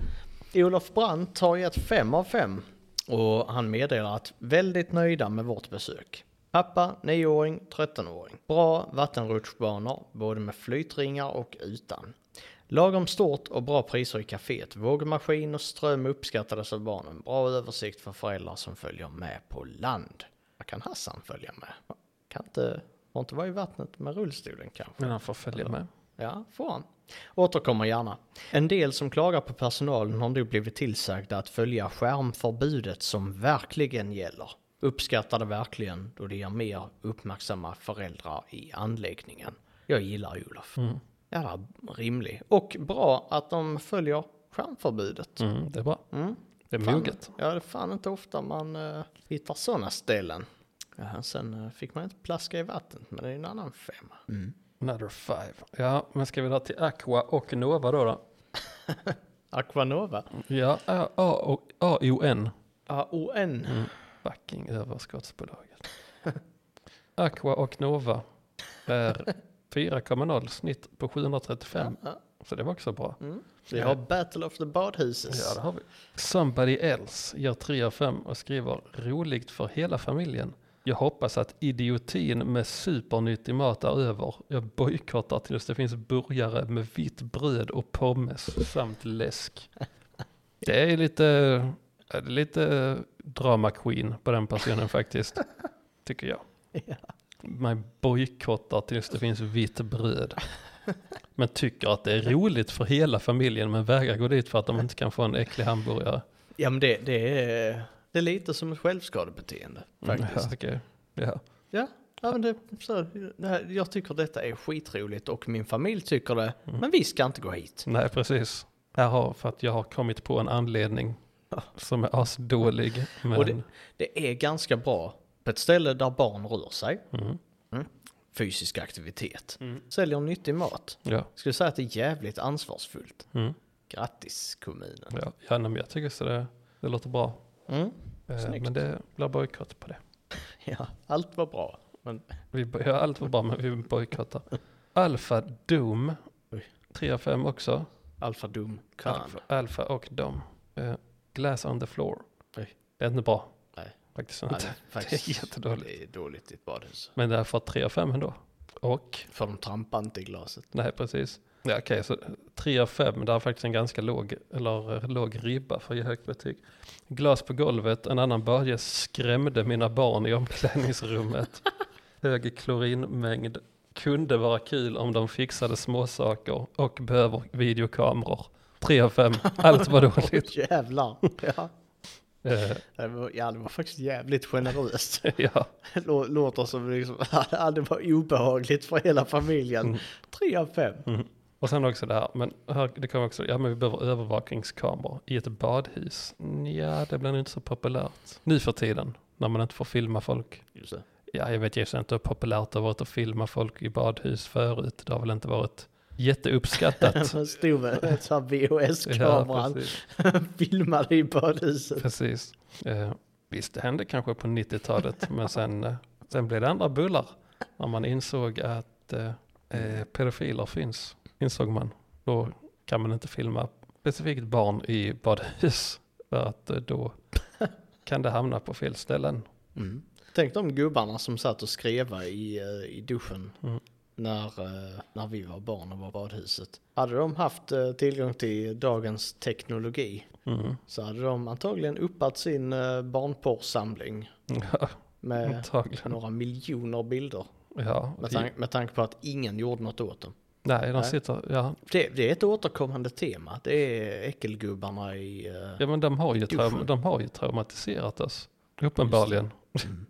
[SPEAKER 1] Olof Brandt har gett 5 av 5 och han meddelar att väldigt nöjda med vårt besök. Pappa, 9-åring, 13-åring. Bra vattenrutschbanor, både med flytringar och utan. Lagom stort och bra priser i kaféet. Vågmaskin och ström uppskattades av barnen. Bra översikt för föräldrar som följer med på land. Vad kan Hassan följa med? Kan inte, får inte vara i vattnet med rullstolen kanske?
[SPEAKER 3] Men han får följa med.
[SPEAKER 1] Ja, får han. Återkommer gärna. En del som klagar på personalen har nog blivit tillsagda att följa skärmförbudet som verkligen gäller. Uppskattar det verkligen då det ger mer uppmärksamma föräldrar i anläggningen. Jag gillar ju Olof.
[SPEAKER 3] Mm.
[SPEAKER 1] Jävla rimlig. Och bra att de följer skärmförbudet.
[SPEAKER 3] Mm, det är bra.
[SPEAKER 1] Mm.
[SPEAKER 3] Det är
[SPEAKER 1] Fan,
[SPEAKER 3] moget.
[SPEAKER 1] Ja, det är fan inte ofta man eh, hittar sådana ställen. Ja, sen eh, fick man inte plaska i vattnet, men det är en annan femma.
[SPEAKER 3] Another five. Ja, men ska vi dra till Aqua och Nova då? då?
[SPEAKER 1] Aquanova.
[SPEAKER 3] Ja, A- A- och A-O-N.
[SPEAKER 1] AON.
[SPEAKER 3] Fucking överskottsbolaget. Aqua och Nova är 4,0 snitt på 735.
[SPEAKER 1] Ja,
[SPEAKER 3] Så det var också bra.
[SPEAKER 1] Vi har Battle of the Badhuses.
[SPEAKER 3] Ja, det har vi. Somebody else gör 3 av 5 och skriver roligt för hela familjen. Jag hoppas att idiotin med supernyttig mat är över. Jag bojkottar tills det finns burgare med vitt bröd och pommes samt läsk. Det är lite, eh, lite drama queen på den personen faktiskt, tycker jag.
[SPEAKER 1] Ja.
[SPEAKER 3] Man bojkottar tills det finns vitt bröd. Men tycker att det är roligt för hela familjen men vägrar gå dit för att de inte kan få en äcklig hamburgare.
[SPEAKER 1] Ja, men det, det, är, det är lite som ett självskadebeteende faktiskt.
[SPEAKER 3] Mm, okej. Ja.
[SPEAKER 1] Ja, ja men det, så, det här, jag tycker detta är skitroligt och min familj tycker det.
[SPEAKER 3] Mm.
[SPEAKER 1] Men vi ska inte gå hit.
[SPEAKER 3] Nej, precis. Jag har, för att jag har kommit på en anledning
[SPEAKER 1] Ja.
[SPEAKER 3] som är asdålig. Men,
[SPEAKER 1] Och det, det är ganska bra på ett ställe där barn rör sig,
[SPEAKER 3] mm,
[SPEAKER 1] fysisk aktivitet,
[SPEAKER 3] Mm.
[SPEAKER 1] säljer nyttig mat.
[SPEAKER 3] ja,
[SPEAKER 1] Skulle säga att det är jävligt ansvarsfullt.
[SPEAKER 3] mm,
[SPEAKER 1] Grattis kommunen.
[SPEAKER 3] ja. ja nej, men jag tycker så det, det låter bra.
[SPEAKER 1] Mm.
[SPEAKER 3] Eh,
[SPEAKER 1] Snyggt.
[SPEAKER 3] Men det blir bojkott på det.
[SPEAKER 1] Ja, allt var bra. Men
[SPEAKER 3] Vi bo- ja, allt var bra, men vi bojkottar. Alfa Doom,
[SPEAKER 1] Oj.
[SPEAKER 3] 3 av 5 också.
[SPEAKER 1] Alfa Dum kan.
[SPEAKER 3] Alfa, alfa och Dom. Eh, glass on the floor.
[SPEAKER 1] Oj.
[SPEAKER 3] Det är inte bra.
[SPEAKER 1] Nej.
[SPEAKER 3] Faktiskt
[SPEAKER 1] Nej,
[SPEAKER 3] inte.
[SPEAKER 1] faktiskt,
[SPEAKER 3] det är jättedåligt.
[SPEAKER 1] Det är dåligt i ett badhus.
[SPEAKER 3] Men det har fått 3 av 5 ändå. Och,
[SPEAKER 1] För de trampar inte i glaset.
[SPEAKER 3] nej precis. Ja, Okej, så 3 av 5, det är faktiskt en ganska låg, eller eh, låg ribba för att ge högt betyg. Glas på golvet, en annan börje skrämde mina barn i omklädningsrummet. Hög klorinmängd. Kunde vara kul om de fixade småsaker och behöver videokameror. 3 av 5, allt var dåligt.
[SPEAKER 1] Jävlar. Ja.
[SPEAKER 3] Eh,
[SPEAKER 1] Det var, ja, det var faktiskt jävligt generöst.
[SPEAKER 3] ja.
[SPEAKER 1] Det lå- låter som liksom, ja, det var obehagligt för hela familjen.
[SPEAKER 3] Mm.
[SPEAKER 1] Tre av fem.
[SPEAKER 3] Och sen också det här, men här, det kommer också, ja men vi behöver övervakningskameror i ett badhus. Ja, det blir nog inte så populärt nu för tiden när man inte får filma folk.
[SPEAKER 1] Just det.
[SPEAKER 3] Ja, jag vet ju inte hur populärt det har varit att filma folk i badhus förut. Det har väl inte varit jätteuppskattat.
[SPEAKER 1] Man stod med en sån här
[SPEAKER 3] ja,
[SPEAKER 1] VHS-kameran,
[SPEAKER 3] precis.
[SPEAKER 1] filmade i badhuset.
[SPEAKER 3] precis. Eh, visst, det hände kanske på 90-talet, men sen, eh, sen blev det andra bullar när man insåg att eh, eh, pedofiler finns, insåg man. Då kan man inte filma specifikt barn i badhus, för att eh, då kan det hamna på fel ställen.
[SPEAKER 1] Mm. Tänk de gubbarna som satt och skrev i, eh, i duschen
[SPEAKER 3] Mm.
[SPEAKER 1] när, eh, när vi var barn och var i badhuset. Hade de haft eh, tillgång till dagens teknologi
[SPEAKER 3] Mm.
[SPEAKER 1] så hade de antagligen uppat sin eh, barnporrsamling
[SPEAKER 3] Ja, Mm. Eh.
[SPEAKER 1] med
[SPEAKER 3] antagligen.
[SPEAKER 1] några miljoner bilder.
[SPEAKER 3] Ja,
[SPEAKER 1] Med,
[SPEAKER 3] i,
[SPEAKER 1] tan- med tanke på att ingen gjorde något åt dem.
[SPEAKER 3] nej, de
[SPEAKER 1] Nej.
[SPEAKER 3] sitter, ja,
[SPEAKER 1] Det, det är ett återkommande tema. Det är äckelgubbarna i... eh,
[SPEAKER 3] ja, men de har, ju
[SPEAKER 1] Duschen.
[SPEAKER 3] traum, de har ju traumatiserat oss, uppenbarligen.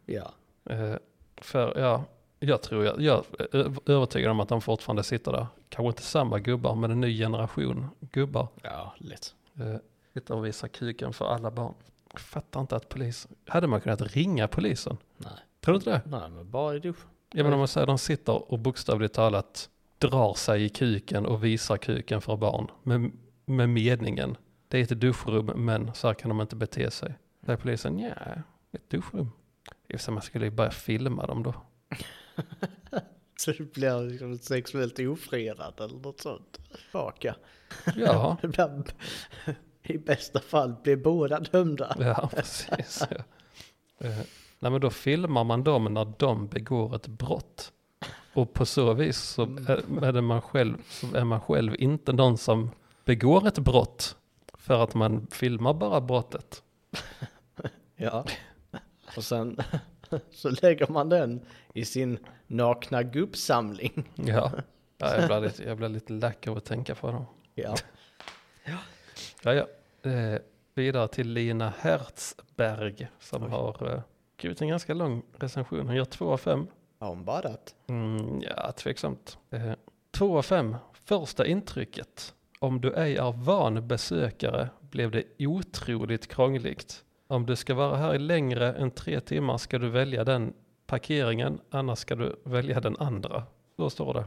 [SPEAKER 1] ja.
[SPEAKER 3] Eh, för ja, jag tror jag, jag är övertygad om att de fortfarande sitter där. Kanske inte samma gubbar, men en ny generation gubbar.
[SPEAKER 1] ja, lätt.
[SPEAKER 3] Eh, sitter och visar kuken för alla barn. Jag Fattar inte att polisen, hade man kunnat ringa polisen?
[SPEAKER 1] Nej.
[SPEAKER 3] Tror du inte det?
[SPEAKER 1] Nej, men bara i duschen.
[SPEAKER 3] Jag menar om man säger de sitter och bokstavligt talat drar sig i kuken och visar kuken för barn med, med meningen. Det är ett duschrum men så här kan de inte bete sig. Säger polisen, ja, ett duschrum. I och för sig, man skulle ju börja filma dem då.
[SPEAKER 1] Så det blir liksom ett sexuellt ofredande eller något sånt. Baka.
[SPEAKER 3] Ja.
[SPEAKER 1] Det blir, I bästa fall blir båda dömda.
[SPEAKER 3] Ja, precis. ja. Eh, Nej, men då filmar man dem när de begår ett brott. Och på så vis så är, är, det man själv, så är man själv inte någon som begår ett brott för att man filmar bara brottet.
[SPEAKER 1] Ja. Och sen så lägger man den i sin nakna gubbsamling.
[SPEAKER 3] Ja, ja jag, blir lite, jag blir lite lack av att tänka på dem.
[SPEAKER 1] Ja.
[SPEAKER 3] Ja, ja. Eh, vidare till Lina Hertzberg som
[SPEAKER 1] Oj.
[SPEAKER 3] har eh, skrivit en ganska lång recension. Hon gör 2 av 5.
[SPEAKER 1] Har hon badat?
[SPEAKER 3] Mm, ja, tveksamt. Eh, 2 av 5. Första intrycket. Om du ej är van besökare blev det otroligt krångligt. Om du ska vara här i längre än tre timmar ska du välja den parkeringen, annars ska du välja den andra. Då står det.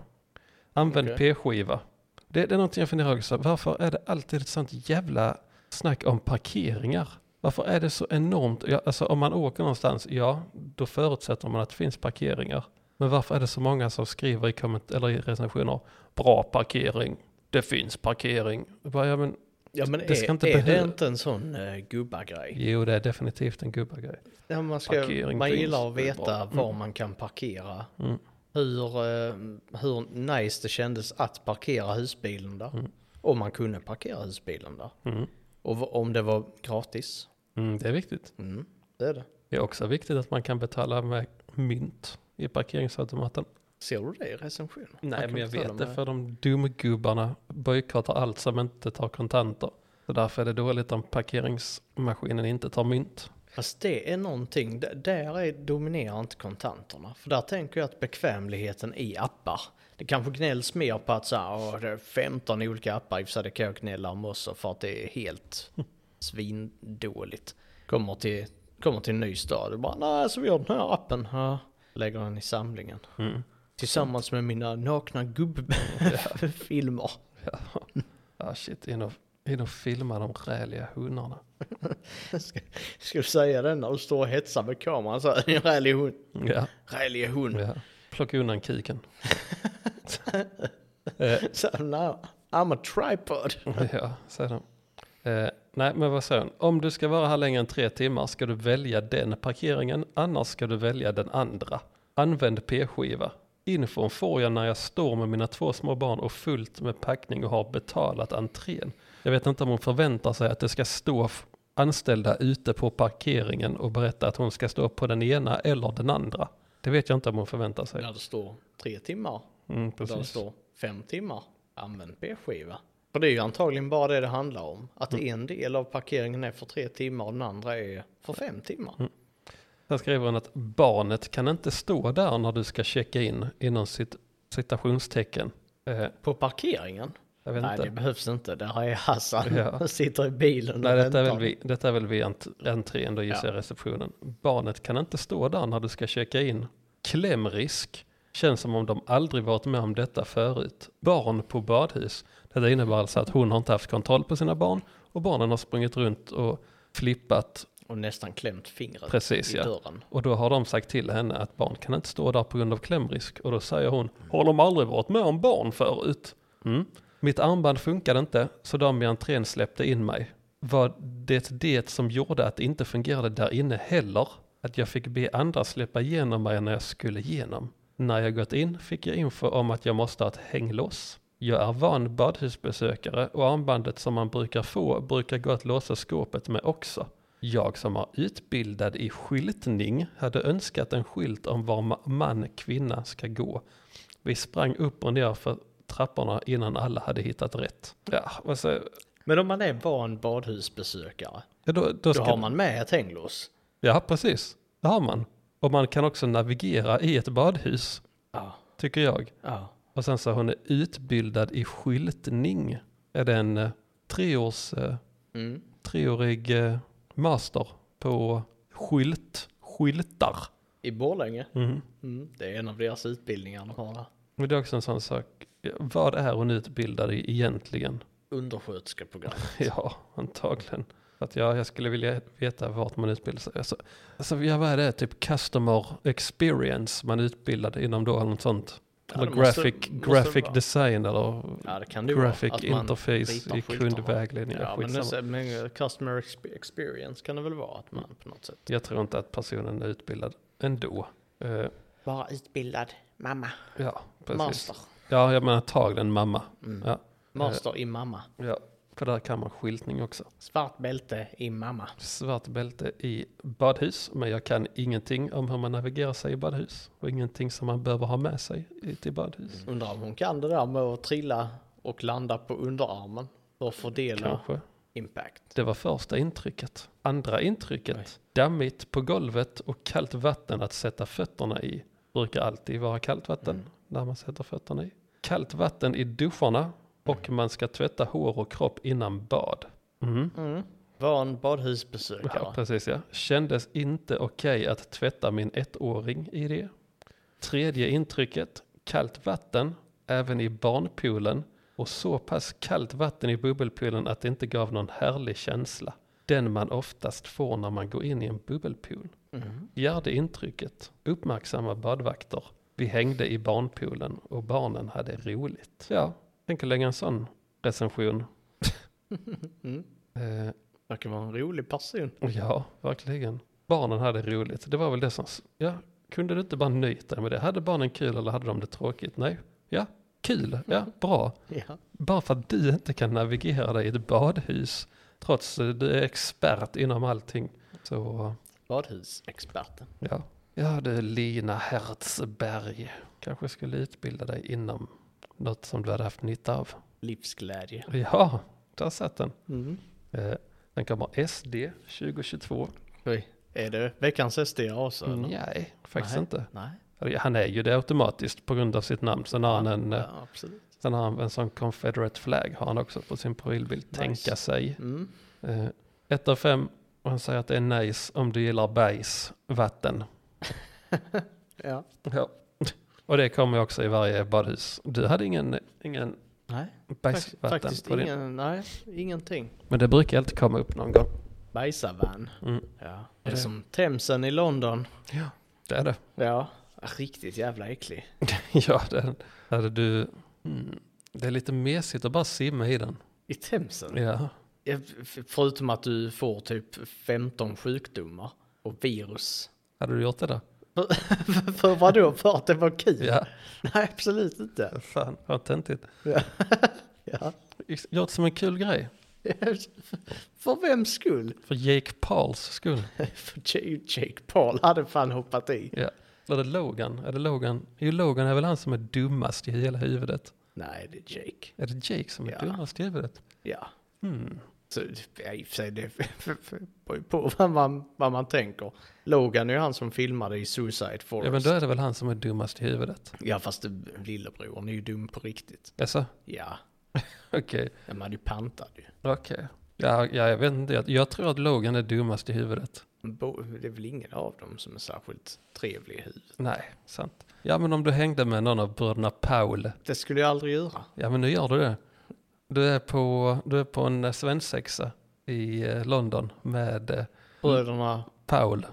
[SPEAKER 3] Använd
[SPEAKER 1] Okej.
[SPEAKER 3] p-skiva. Det, det är någonting jag funderar också. Varför är det alltid ett sånt jävla snack om parkeringar? Varför är det så enormt? Ja, alltså om man åker någonstans, ja, då förutsätter man att det finns parkeringar. Men varför är det så många som skriver i, komment- eller i recensioner, bra parkering, det finns parkering. Jag Bara, ja, men,
[SPEAKER 1] Ja men
[SPEAKER 3] Det ska
[SPEAKER 1] är,
[SPEAKER 3] inte eh,
[SPEAKER 1] är det
[SPEAKER 3] behöva-
[SPEAKER 1] inte en sån uh, gubbagrej?
[SPEAKER 3] jo, det är definitivt en gubbagrej.
[SPEAKER 1] Ja, man, ska,
[SPEAKER 3] Parkering
[SPEAKER 1] man
[SPEAKER 3] finns,
[SPEAKER 1] gillar att
[SPEAKER 3] det är
[SPEAKER 1] veta
[SPEAKER 3] bra.
[SPEAKER 1] var
[SPEAKER 3] Mm.
[SPEAKER 1] man kan parkera.
[SPEAKER 3] Mm.
[SPEAKER 1] Hur, eh, hur nice det kändes att parkera husbilen där.
[SPEAKER 3] Mm.
[SPEAKER 1] Om man kunde parkera husbilen där.
[SPEAKER 3] Mm.
[SPEAKER 1] Och v- om det var gratis.
[SPEAKER 3] Mm, det är viktigt.
[SPEAKER 1] Mm, det är det.
[SPEAKER 3] Det är också viktigt att man kan betala med mynt i parkeringsautomaten.
[SPEAKER 1] Ser du det i recensionen?
[SPEAKER 3] Nej, men jag vet det
[SPEAKER 1] För...
[SPEAKER 3] för de dumgubbarna bojkottar allt som inte tar kontanter. Så därför är det dåligt om parkeringsmaskinen inte tar mynt.
[SPEAKER 1] Fast det är någonting, d- där är, dominerar inte kontanterna. För där tänker jag att bekvämligheten i appar. Det kanske gnälls mer på att så här, "Åh, det är 15 olika appar, i och för sig, det kan jag gnälla om också för att det är helt svindåligt. Kommer till, kommer till en ny stad och bara, nej så vi har den här appen, ja. lägger den i samlingen.
[SPEAKER 3] Mm.
[SPEAKER 1] Tillsammans med mina nakna gubbfilmer.
[SPEAKER 3] Ah, shit, in och, in och filma de räliga hundarna.
[SPEAKER 1] Ska, ska du säga den när du står och hetsar med kameran så här, en rälig hund,
[SPEAKER 3] Ja,
[SPEAKER 1] rälig hund.
[SPEAKER 3] ja. Plocka undan kiken. eh,
[SPEAKER 1] Så här, "No, I'm a tripod.
[SPEAKER 3] ja, säger de. Eh, nej, men vad säger hon? Om du ska vara här längre än tre timmar ska du välja den parkeringen, annars ska du välja den andra. Använd p-skiva. Infon får jag när jag står med mina två små barn och fullt med packning och har betalat entrén. Jag vet inte om hon förväntar sig att det ska stå f- anställda ute på parkeringen och berätta att hon ska stå på den ena eller den andra. Det vet jag inte om hon förväntar sig.
[SPEAKER 1] Där det står tre timmar,
[SPEAKER 3] Mm,
[SPEAKER 1] där det
[SPEAKER 3] precis.
[SPEAKER 1] står fem timmar, använd p-skiva. För det är ju antagligen bara det det handlar om. Att
[SPEAKER 3] Mm.
[SPEAKER 1] en del av parkeringen är för tre timmar och den andra är för fem timmar.
[SPEAKER 3] Mm. Sen skriver hon att barnet kan inte stå där när du ska checka in inom sitt citationstecken. Eh,
[SPEAKER 1] På parkeringen?
[SPEAKER 3] jag vet
[SPEAKER 1] Nej, det
[SPEAKER 3] inte.
[SPEAKER 1] behövs inte. Där är Hassan.
[SPEAKER 3] Ja.
[SPEAKER 1] Sitter i bilen
[SPEAKER 3] Nej,
[SPEAKER 1] och
[SPEAKER 3] detta är
[SPEAKER 1] väntar.
[SPEAKER 3] väl vid, detta är väl vid ent- entrén, då gissar
[SPEAKER 1] Ja.
[SPEAKER 3] jag receptionen. Barnet kan inte stå där när du ska checka in. Klämrisk. Känns som om de aldrig varit med om detta förut. Barn på badhus. Detta innebär alltså att hon har inte haft kontroll på sina barn och barnen har sprungit runt och flippat.
[SPEAKER 1] Och nästan klämt fingret
[SPEAKER 3] Precis
[SPEAKER 1] i
[SPEAKER 3] ja.
[SPEAKER 1] dörren.
[SPEAKER 3] Och då har de sagt till henne att barn kan inte stå där på grund av klämrisk. Och då säger hon, har de aldrig varit med om barn förut? Mm. Mitt armband funkade inte, så de i entrén släppte in mig. Var det det som gjorde att det inte fungerade där inne heller? Att jag fick be andra släppa igenom mig när jag skulle igenom. När jag gått in fick jag info om att jag måste ha ett hänglås. Jag är van badhusbesökare och armbandet som man brukar få brukar gå att låsa skåpet med också. Jag som är utbildad i skyltning hade önskat en skylt om var ma- man kvinna ska gå. Vi sprang upp och ner för trapporna innan alla hade hittat rätt. Ja, vad säger
[SPEAKER 1] Men om man är van badhusbesökare,
[SPEAKER 3] ja, då, då,
[SPEAKER 1] då
[SPEAKER 3] ska,
[SPEAKER 1] har man med ett hänglås.
[SPEAKER 3] Ja, precis. Det har man. Och man kan också navigera i ett badhus,
[SPEAKER 1] Ja.
[SPEAKER 3] tycker jag.
[SPEAKER 1] ja.
[SPEAKER 3] Och sen så hon är utbildad i skyltning. Är det en eh, treårs, eh,
[SPEAKER 1] Mm.
[SPEAKER 3] treårig eh, master på skylt, skyltar?
[SPEAKER 1] I Borlänge.
[SPEAKER 3] Mhm.
[SPEAKER 1] Mm. Det är en av deras utbildningar de har där.
[SPEAKER 3] Men det är också en sån sak. Vad är hon utbildad i egentligen?
[SPEAKER 1] Undersköterskeprogram.
[SPEAKER 3] Ja, antagligen. Att jag, jag skulle vilja veta vart man utbildar sig. Alltså, alltså ja, vad är det? Typ customer experience man utbildar inom då eller något sånt.
[SPEAKER 1] Ja,
[SPEAKER 3] Eller
[SPEAKER 1] det måste-
[SPEAKER 3] graphic,
[SPEAKER 1] måste det
[SPEAKER 3] graphic
[SPEAKER 1] vara.
[SPEAKER 3] design eller
[SPEAKER 1] Ja, det kan det vara.
[SPEAKER 3] graphic
[SPEAKER 1] att man
[SPEAKER 3] interface
[SPEAKER 1] ritar
[SPEAKER 3] i
[SPEAKER 1] skyltarna.
[SPEAKER 3] kundvägledning.
[SPEAKER 1] Ja, men,
[SPEAKER 3] Skitsamma.
[SPEAKER 1] det, är- men eh, customer exp- experience kan det väl vara att man på något sätt.
[SPEAKER 3] Jag tror inte att personen är utbildad ändå. Eh,
[SPEAKER 1] Bara utbildad, Mamma.
[SPEAKER 3] Ja, precis.
[SPEAKER 1] Master.
[SPEAKER 3] Ja, jag menar antagligen mamma.
[SPEAKER 1] Mm.
[SPEAKER 3] Ja.
[SPEAKER 1] Master i mamma.
[SPEAKER 3] Ja, för där kan man skyltning också.
[SPEAKER 1] Svart bälte i mamma.
[SPEAKER 3] Svart bälte i badhus, men jag kan ingenting om hur man navigerar sig i badhus. Och ingenting som man behöver ha med sig i- till badhus.
[SPEAKER 1] Undrar om hon kan det där med att trilla och landa på underarmen. För att fördela
[SPEAKER 3] Kanske.
[SPEAKER 1] impact.
[SPEAKER 3] Det var första intrycket. Andra intrycket, dammigt på golvet och kallt vatten att sätta fötterna i. Brukar alltid vara kallt vatten när man sätter fötterna i. Kallt vatten i duscharna och man ska tvätta hår och kropp innan bad. Mm.
[SPEAKER 1] Mm. Var en
[SPEAKER 3] Ja,
[SPEAKER 1] badhusbesökare.
[SPEAKER 3] precis ja. Kändes inte okej att tvätta min ettåring i det. Tredje intrycket, kallt vatten, även i barnpoolen och så pass kallt vatten i bubbelpoolen att det inte gav någon härlig känsla. Den man oftast får när man går in i en bubbelpool.
[SPEAKER 1] Mm.
[SPEAKER 3] Fjärde intrycket, uppmärksamma badvakter. Vi hängde i barnpoolen och barnen hade roligt. Ja, tänk att lägga en sån recension.
[SPEAKER 1] Mm.
[SPEAKER 3] Eh,
[SPEAKER 1] Verkar vara en rolig person.
[SPEAKER 3] Ja, verkligen. Barnen hade roligt. Det var väl det som... s- Ja, kunde du inte bara nöjt dig med det? Hade barnen kul eller hade de det tråkigt? Nej. Ja, kul. Ja, bra.
[SPEAKER 1] Ja.
[SPEAKER 3] Bara för att du inte kan navigera dig i ett badhus, trots att du är expert inom allting. Så,
[SPEAKER 1] Badhusexperten.
[SPEAKER 3] ja. Ja du Lina Hertzberg, kanske skulle utbilda dig inom något som du hade haft nytta av.
[SPEAKER 1] Livsglädje.
[SPEAKER 3] Ja, där satt den.
[SPEAKER 1] Mm.
[SPEAKER 3] Eh, Sen kommer SD 2022.
[SPEAKER 1] Oj. Är det veckans SD också? eller?
[SPEAKER 3] Nej, faktiskt
[SPEAKER 1] Nej.
[SPEAKER 3] inte.
[SPEAKER 1] Nej.
[SPEAKER 3] Mm. Han är ju det automatiskt på grund av sitt namn. Sen har han en, eh,
[SPEAKER 1] Ja, absolut.
[SPEAKER 3] sen har han en sån confederate flag har han också på sin profilbild.
[SPEAKER 1] Nice.
[SPEAKER 3] Tänka sig.
[SPEAKER 1] Mm.
[SPEAKER 3] Eh, Ett av fem. Och han säger att det är nice om du gillar bajs, vatten.
[SPEAKER 1] Ja.
[SPEAKER 3] Ja. Och det kommer ju också i varje badhus. Du hade ingen, ingen
[SPEAKER 1] Nej.
[SPEAKER 3] bajs,
[SPEAKER 1] Fakt-
[SPEAKER 3] vatten
[SPEAKER 1] faktiskt
[SPEAKER 3] på din.
[SPEAKER 1] ingen, nej, ingenting.
[SPEAKER 3] Men det brukar alltid komma upp någon gång.
[SPEAKER 1] Bajsavan.
[SPEAKER 3] Mm.
[SPEAKER 1] Ja. Det är
[SPEAKER 3] det-
[SPEAKER 1] som Themsen i London.
[SPEAKER 3] Det är det.
[SPEAKER 1] Ja. Riktigt jävla äcklig.
[SPEAKER 3] ja, det är den. Hade du... Mm. Det är lite mesigt att bara simma i den.
[SPEAKER 1] I Themsen?
[SPEAKER 3] Ja.
[SPEAKER 1] Ja, f- Förutom att du får typ 15 sjukdomar och virus.
[SPEAKER 3] Hade du gjort det då?
[SPEAKER 1] För vadå? För att det var kul?
[SPEAKER 3] Ja.
[SPEAKER 1] Nej, absolut inte.
[SPEAKER 3] Fan, vad töntigt.
[SPEAKER 1] Ja.
[SPEAKER 3] Gjort som en kul grej.
[SPEAKER 1] För vems skull?
[SPEAKER 3] För Jake Pauls skull.
[SPEAKER 1] För J- Jake Paul hade fan hoppat i.
[SPEAKER 3] Ja. Eller är det Logan? Är det Logan? Jo, Logan är väl han som är dummast i hela huvudet.
[SPEAKER 1] Nej, det är Jake.
[SPEAKER 3] Är det Jake som är
[SPEAKER 1] Ja.
[SPEAKER 3] dummast i huvudet?
[SPEAKER 1] Ja.
[SPEAKER 3] Hmm.
[SPEAKER 1] Så ja, i och för sig, det beror ju på vad man, vad man tänker. Logan är ju han som filmade i Suicide Forest.
[SPEAKER 3] Ja, men då är det väl han som är dummast i huvudet.
[SPEAKER 1] Ja, fast det- lillebror är ju dum på riktigt.
[SPEAKER 3] Jaså?
[SPEAKER 1] Ja,
[SPEAKER 3] Okej.
[SPEAKER 1] ja, man är ju pantad ju.
[SPEAKER 3] Okej. Ja, ja, jag vet inte. Jag, jag tror att Logan är dummast i huvudet.
[SPEAKER 1] Bo- Det är väl ingen av dem som är särskilt trevlig i huvudet.
[SPEAKER 3] Nej, sant. Ja, men om du hängde med någon av bröderna Paul.
[SPEAKER 1] Det skulle jag aldrig göra.
[SPEAKER 3] Ja, men nu gör du det. Du är på, du är på en eh, svensexa i eh, London med eh,
[SPEAKER 1] Bröderna,
[SPEAKER 3] Paul.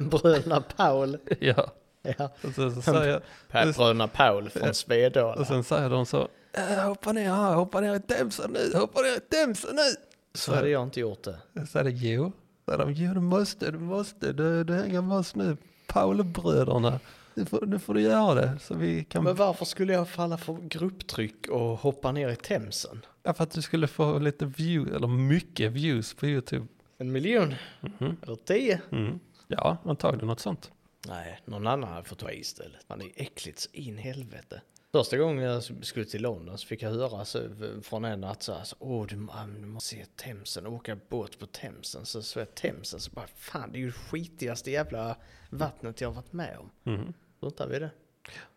[SPEAKER 1] bröderna Paul.
[SPEAKER 3] Ja,
[SPEAKER 1] Ja.
[SPEAKER 3] och sen så säger,
[SPEAKER 1] Pa- Bröderna Paul från
[SPEAKER 3] och
[SPEAKER 1] Svedala.
[SPEAKER 3] sen säger de så, "Äh, hoppa ner här, hoppa ner i Themsen nu, hoppa ner i Themsen nu.
[SPEAKER 1] Så hade jag inte gjort det.
[SPEAKER 3] Så säger det jo, Så säger de, jo du måste, du måste, du, du hänger med oss nu, Paulbröderna. Nu får, nu får du göra det, så vi
[SPEAKER 1] Men
[SPEAKER 3] kan,
[SPEAKER 1] varför skulle jag falla för grupptryck och hoppa ner i Themsen?
[SPEAKER 3] ja, för att du skulle få lite view, eller mycket views på YouTube.
[SPEAKER 1] En miljon?
[SPEAKER 3] Mhm.
[SPEAKER 1] Eller tio?
[SPEAKER 3] Mm. Ja, antagligen något sånt.
[SPEAKER 1] Nej, någon annan hade fått ta i istället. Man är äckligt så in i helvete. Första gången jag skulle till London så fick jag höra så, från en att så här, så, åh du, må- du måste se Themsen, åka båt på Themsen. Så såg jag Themsen så bara fan det är ju det skitigaste jävla vattnet jag har varit med om.
[SPEAKER 3] Mm.
[SPEAKER 1] Struntar vi i det?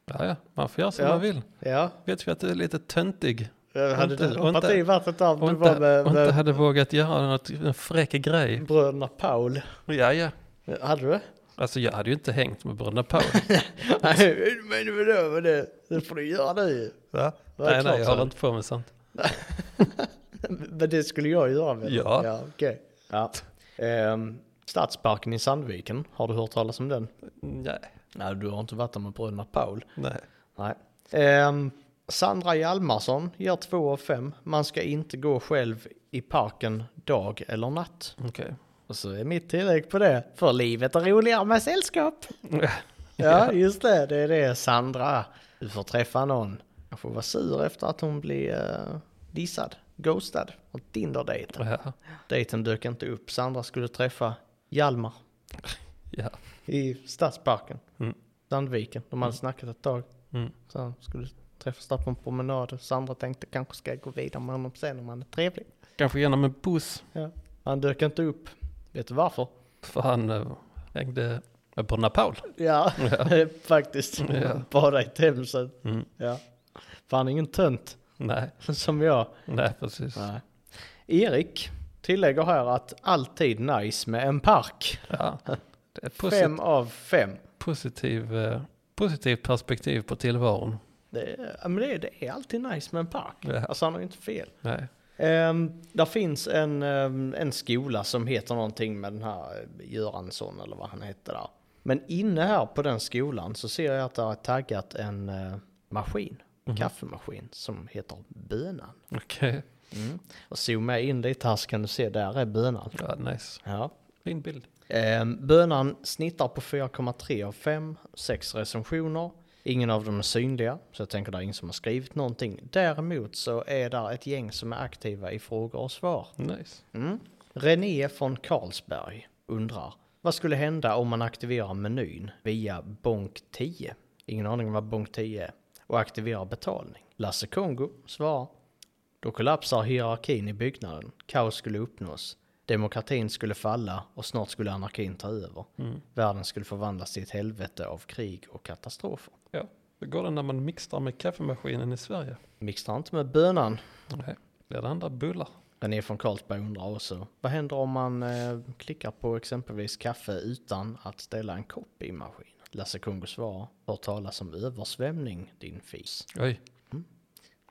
[SPEAKER 3] Ja, ja, man får göra som
[SPEAKER 1] Ja.
[SPEAKER 3] man vill.
[SPEAKER 1] Ja,
[SPEAKER 3] Vet vi att du är lite töntig
[SPEAKER 1] jag hade
[SPEAKER 3] inte-
[SPEAKER 1] du
[SPEAKER 3] och
[SPEAKER 1] hoppat
[SPEAKER 3] inte-
[SPEAKER 1] i vattnet där
[SPEAKER 3] och
[SPEAKER 1] du
[SPEAKER 3] inte,
[SPEAKER 1] var med,
[SPEAKER 3] och inte
[SPEAKER 1] med
[SPEAKER 3] hade vågat göra något, en fräck grej.
[SPEAKER 1] bröderna Paul?
[SPEAKER 3] Ja, ja.
[SPEAKER 1] Hade du det?
[SPEAKER 3] Alltså jag hade ju inte hängt med bröderna Paul.
[SPEAKER 1] Nej, men vadå, men det, det får du göra nu.
[SPEAKER 3] Va?
[SPEAKER 1] Det är
[SPEAKER 3] Nej,
[SPEAKER 1] klart
[SPEAKER 3] nej, jag
[SPEAKER 1] så.
[SPEAKER 3] håller inte på med sånt.
[SPEAKER 1] Men det skulle jag göra väl?
[SPEAKER 3] Ja.
[SPEAKER 1] ja okej. Ja. Ehm, Stadsparken i Sandviken, har du hört talas om den?
[SPEAKER 3] Nej,
[SPEAKER 1] Nej, du har inte varit där med bröderna Paul.
[SPEAKER 3] nej.
[SPEAKER 1] Nej. Ehm, Sandra Hjalmarsson ger 2 av 5. Man ska inte gå själv i parken dag eller natt.
[SPEAKER 3] Okej.
[SPEAKER 1] Och så är mitt tillägg på det. För livet är roligare med sällskap. Ja, just det. Det är det. Sandra, du får träffa någon. Jag får vara sur efter att hon blev eh, dissad, ghostad av Tinder-dejten.
[SPEAKER 3] Ja,
[SPEAKER 1] Dejten dök inte upp. Sandra skulle träffa Hjalmar
[SPEAKER 3] ja.
[SPEAKER 1] i Stadsparken,
[SPEAKER 3] Mm.
[SPEAKER 1] Sandviken. De hade snackat ett tag.
[SPEAKER 3] Mm.
[SPEAKER 1] Så han skulle träffas där på en promenad. Sandra tänkte kanske ska jag gå vidare med honom sen om han är trevlig.
[SPEAKER 3] Kanske genom en buss.
[SPEAKER 1] Han dök inte upp. Vet du varför?
[SPEAKER 3] För han eh, hängde med Bruna Paul.
[SPEAKER 1] Ja, faktiskt.
[SPEAKER 3] Ja.
[SPEAKER 1] Bara i Themsen.
[SPEAKER 3] Mm.
[SPEAKER 1] Ja. För han är ingen tönt
[SPEAKER 3] Nej,
[SPEAKER 1] som jag.
[SPEAKER 3] nej precis.
[SPEAKER 1] Erik tillägger här att alltid nice med en park.
[SPEAKER 3] Ja. Det är ett posit-
[SPEAKER 1] Fem av fem.
[SPEAKER 3] positiv, eh, positivt perspektiv på tillvaron.
[SPEAKER 1] Det är, ja, men det, är- det är alltid nice med en park.
[SPEAKER 3] Ja.
[SPEAKER 1] Alltså han har ju inte fel.
[SPEAKER 3] Nej.
[SPEAKER 1] Um, där finns en, ehm, en skola som heter någonting med den här eh, Göransson eller vad han hette där. Men inne här på den skolan så ser jag att det har taggat en eh, maskin,
[SPEAKER 3] Mhm.
[SPEAKER 1] kaffemaskin, som heter Bönan.
[SPEAKER 3] Mm, Okej,
[SPEAKER 1] Och zoomar jag in lite här så kan du se, där är Bönan.
[SPEAKER 3] ja, nice.
[SPEAKER 1] Ja.
[SPEAKER 3] Fin bild.
[SPEAKER 1] Ehm, Bönan snittar på 4,3 av 5, 6 recensioner. Ingen av dem är synliga, så jag tänker det är ingen som har skrivit någonting. Däremot så är där ett gäng som är aktiva i frågor och svar.
[SPEAKER 3] Nice.
[SPEAKER 1] Mm. René från Carlsberg undrar, vad skulle hända om man aktiverar menyn via Bonk 10? Ingen aning om vad Bonk 10 är. Och aktiverar betalning. Lasse Kongo svarar, då kollapsar hierarkin i byggnaden. Kaos skulle uppnås. Demokratin skulle falla och snart skulle anarkin ta över.
[SPEAKER 3] Mm.
[SPEAKER 1] Världen skulle förvandlas till ett helvete av krig och katastrofer.
[SPEAKER 3] Ja, hur går det när man mixtrar med kaffemaskinen i Sverige?
[SPEAKER 1] Mixtrar inte med bönan.
[SPEAKER 3] Nej, blir det andra bullar?
[SPEAKER 1] René från Carlsberg undrar också, vad händer om man eh, klickar på exempelvis kaffe utan att ställa en kopp i maskinen? Lasse Kongo svarar, hör talas om översvämning din fis.
[SPEAKER 3] Oj,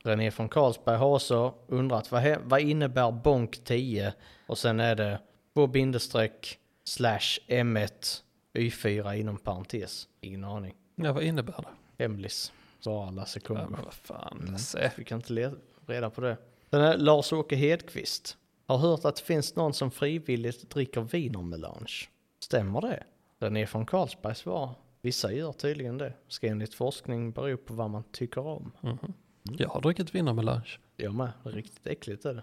[SPEAKER 1] René från Carlsberg har också undrat, vad, he- vad innebär bonk 10? Och sen är det två bindestreck slash M1 Y4 inom parentes. Ingen aning.
[SPEAKER 3] ja, vad innebär det?
[SPEAKER 1] Hemlis, svarar Lasse Kongo.
[SPEAKER 3] Ja, men vad fan, Lasse.
[SPEAKER 1] Vi kan inte le- reda på det. Den här Lars-Åke Hedqvist. Har hört att det finns någon som frivilligt dricker wienermelange. Stämmer det? Den är från Carlsberg svar. Vissa gör tydligen det. Ska enligt forskning bero på vad man tycker om.
[SPEAKER 3] Mhm. Jag har druckit wienermelange.
[SPEAKER 1] Jag med. Riktigt äckligt är det.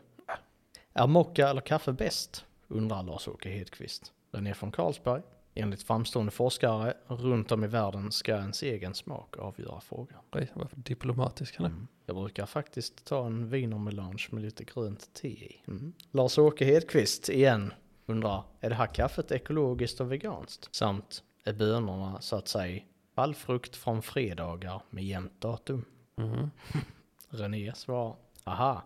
[SPEAKER 1] Är mocka eller kaffe bäst? Undrar Lars-Åke Hedqvist. Den är från Carlsberg. Enligt framstående forskare runt om i världen ska ens egen smak avgöra frågan.
[SPEAKER 3] Oj, vad diplomatisk han är.
[SPEAKER 1] Mm. Jag brukar faktiskt ta en wienermelange med lite grönt te i. Lars-Åke Hedqvist igen undrar, är det här kaffet ekologiskt och veganskt? Samt, är bönorna så att säga fallfrukt från fredagar med jämnt datum?
[SPEAKER 3] Mhm.
[SPEAKER 1] René svarar, aha,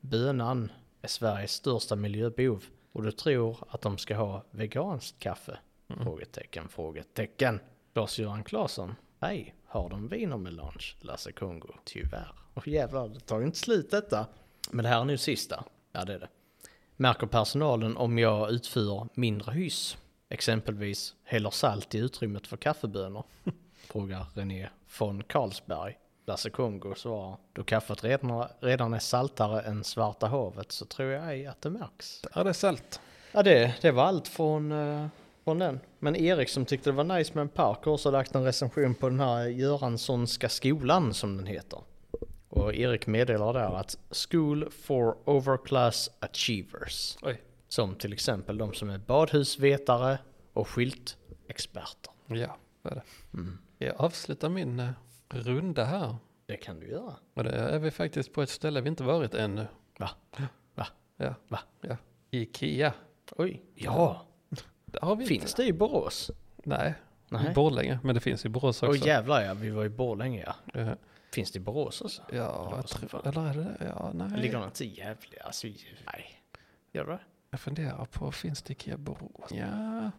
[SPEAKER 1] bönan är Sveriges största miljöbov och du tror att de ska ha veganskt kaffe? Frågetecken, frågetecken. Claes-Göran Claesson, hej, har de wienermelange? Lasse Kongo, tyvärr. Och jävlar, det tar ju inte slut detta. Men det här är nu sista. Ja, det är det. Märker personalen om jag utför mindre hyss? Exempelvis häller salt i utrymmet för kaffebönor? Frågar René von Carlsberg. Lasse Kongo svarar, då kaffet redan, redan är saltare än Svarta havet så tror jag ej att det märks.
[SPEAKER 3] Ja, det är salt.
[SPEAKER 1] Ja, det, det var allt från, eh, från den. Men Erik som tyckte det var nice med en park har också lagt en recension på den här Göranssonska skolan som den heter. Och Erik meddelar där att School for Overclass Achievers.
[SPEAKER 3] Oj,
[SPEAKER 1] Som till exempel de som är badhusvetare och skyltexperter.
[SPEAKER 3] ja, vad är det?
[SPEAKER 1] Mm.
[SPEAKER 3] Jag avslutar min eh, runda här.
[SPEAKER 1] Det kan du göra.
[SPEAKER 3] Och det är vi faktiskt på ett ställe vi inte varit ännu.
[SPEAKER 1] Va? Va?
[SPEAKER 3] Ja.
[SPEAKER 1] Va?
[SPEAKER 3] Ja. Ikea.
[SPEAKER 1] Oj. Ja.
[SPEAKER 3] Det har vi inte.
[SPEAKER 1] Finns det i Borås?
[SPEAKER 3] Nej.
[SPEAKER 1] Nej.
[SPEAKER 3] I Borlänge, men det finns i Borås också.
[SPEAKER 1] Åh jävlar ja, vi var i Borlänge ja.
[SPEAKER 3] Eh,
[SPEAKER 1] Finns det i Borås också?
[SPEAKER 3] Ja,
[SPEAKER 1] vad
[SPEAKER 3] jag
[SPEAKER 1] som
[SPEAKER 3] tror, eller är det det? Ja, nej.
[SPEAKER 1] Ligger den inte i Gävle? Alltså, i- nej. Eh. Gör det?
[SPEAKER 3] Jag funderar på, finns det Ikea Borås? Ja.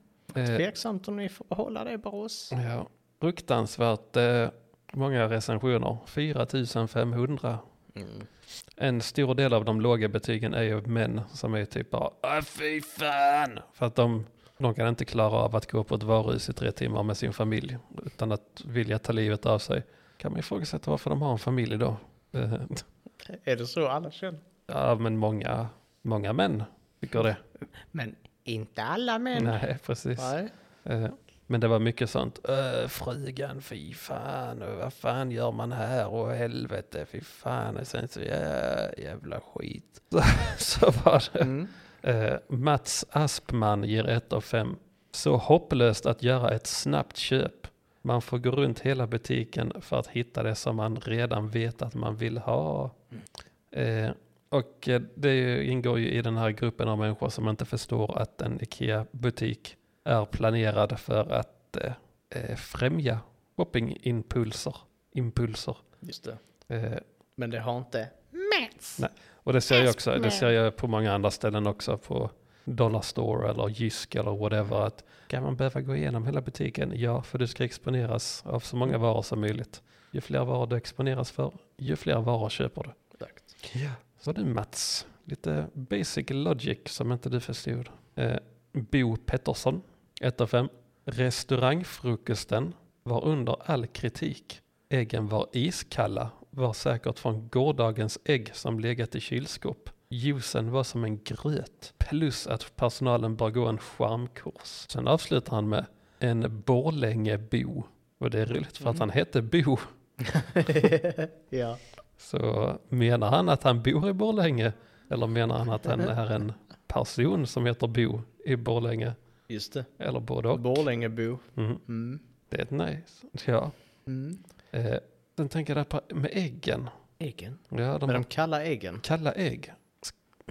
[SPEAKER 3] Eh,
[SPEAKER 1] Tveksamt om ni får behålla det Borås.
[SPEAKER 3] ja. Fruktansvärt eh, många recensioner. 4500.
[SPEAKER 1] Mm.
[SPEAKER 3] En stor del av de låga betygen är ju män som är typ bara "Åh, fy fan. För att de, de kan inte klara av att gå på ett varuhus i tre timmar med sin familj utan att vilja ta livet av sig. Kan man ifrågasätta varför de har en familj då? Eh,
[SPEAKER 1] Är det så alla känner?
[SPEAKER 3] Ja, men många, många män tycker det.
[SPEAKER 1] Men inte alla män.
[SPEAKER 3] Nej, precis.
[SPEAKER 1] Nej.
[SPEAKER 3] Eh, Men det var mycket sånt, "Öh, frugan, fy fan, och vad fan gör man här, och helvete, fy fan, och sen så "Ja, jävla skit. Så, så var det.
[SPEAKER 1] Mm.
[SPEAKER 3] Eh, Mats Aspman ger ett av fem. Så hopplöst att göra ett snabbt köp. Man får gå runt hela butiken för att hitta det som man redan vet att man vill ha. Eh, och eh, det är ju- ingår ju i den här gruppen av människor som inte förstår att en IKEA-butik är planerad för att eh, eh, främja shoppingimpulser. Impulser.
[SPEAKER 1] Just det.
[SPEAKER 3] Eh,
[SPEAKER 1] Men det har inte...
[SPEAKER 3] och det ser jag också, det ser jag på många andra ställen också på Dollar Store eller Jysk eller whatever att kan man behöva gå igenom hela butiken? Ja, för du ska exponeras av så många varor som möjligt. Ju fler varor du exponeras för, ju fler varor köper du.
[SPEAKER 1] Exakt.
[SPEAKER 3] Ja. Så du Mats, lite basic logic som inte du förstod. Eh, Bo Pettersson, 1 av 5. Restaurangfrukosten var under all kritik. Äggen var iskalla, var säkert från gårdagens ägg som legat i kylskåp. Juicen var som en gröt, plus att personalen bör gå en charmkurs. Sen avslutar han med en Borlängebo. Och det är roligt för att han hette Bo.
[SPEAKER 1] ja.
[SPEAKER 3] Så menar han att han bor i Borlänge? Eller menar han att han är en person som heter Bo i Borlänge?
[SPEAKER 1] Just det.
[SPEAKER 3] Eller både och?
[SPEAKER 1] Borlängebo.
[SPEAKER 3] Mm.
[SPEAKER 1] Mm.
[SPEAKER 3] Det är nice. Ja.
[SPEAKER 1] Mm.
[SPEAKER 3] Eh, sen tänker jag där på med äggen.
[SPEAKER 1] Äggen.
[SPEAKER 3] Ja, de
[SPEAKER 1] Men de
[SPEAKER 3] har
[SPEAKER 1] kalla äggen.
[SPEAKER 3] kalla ägg.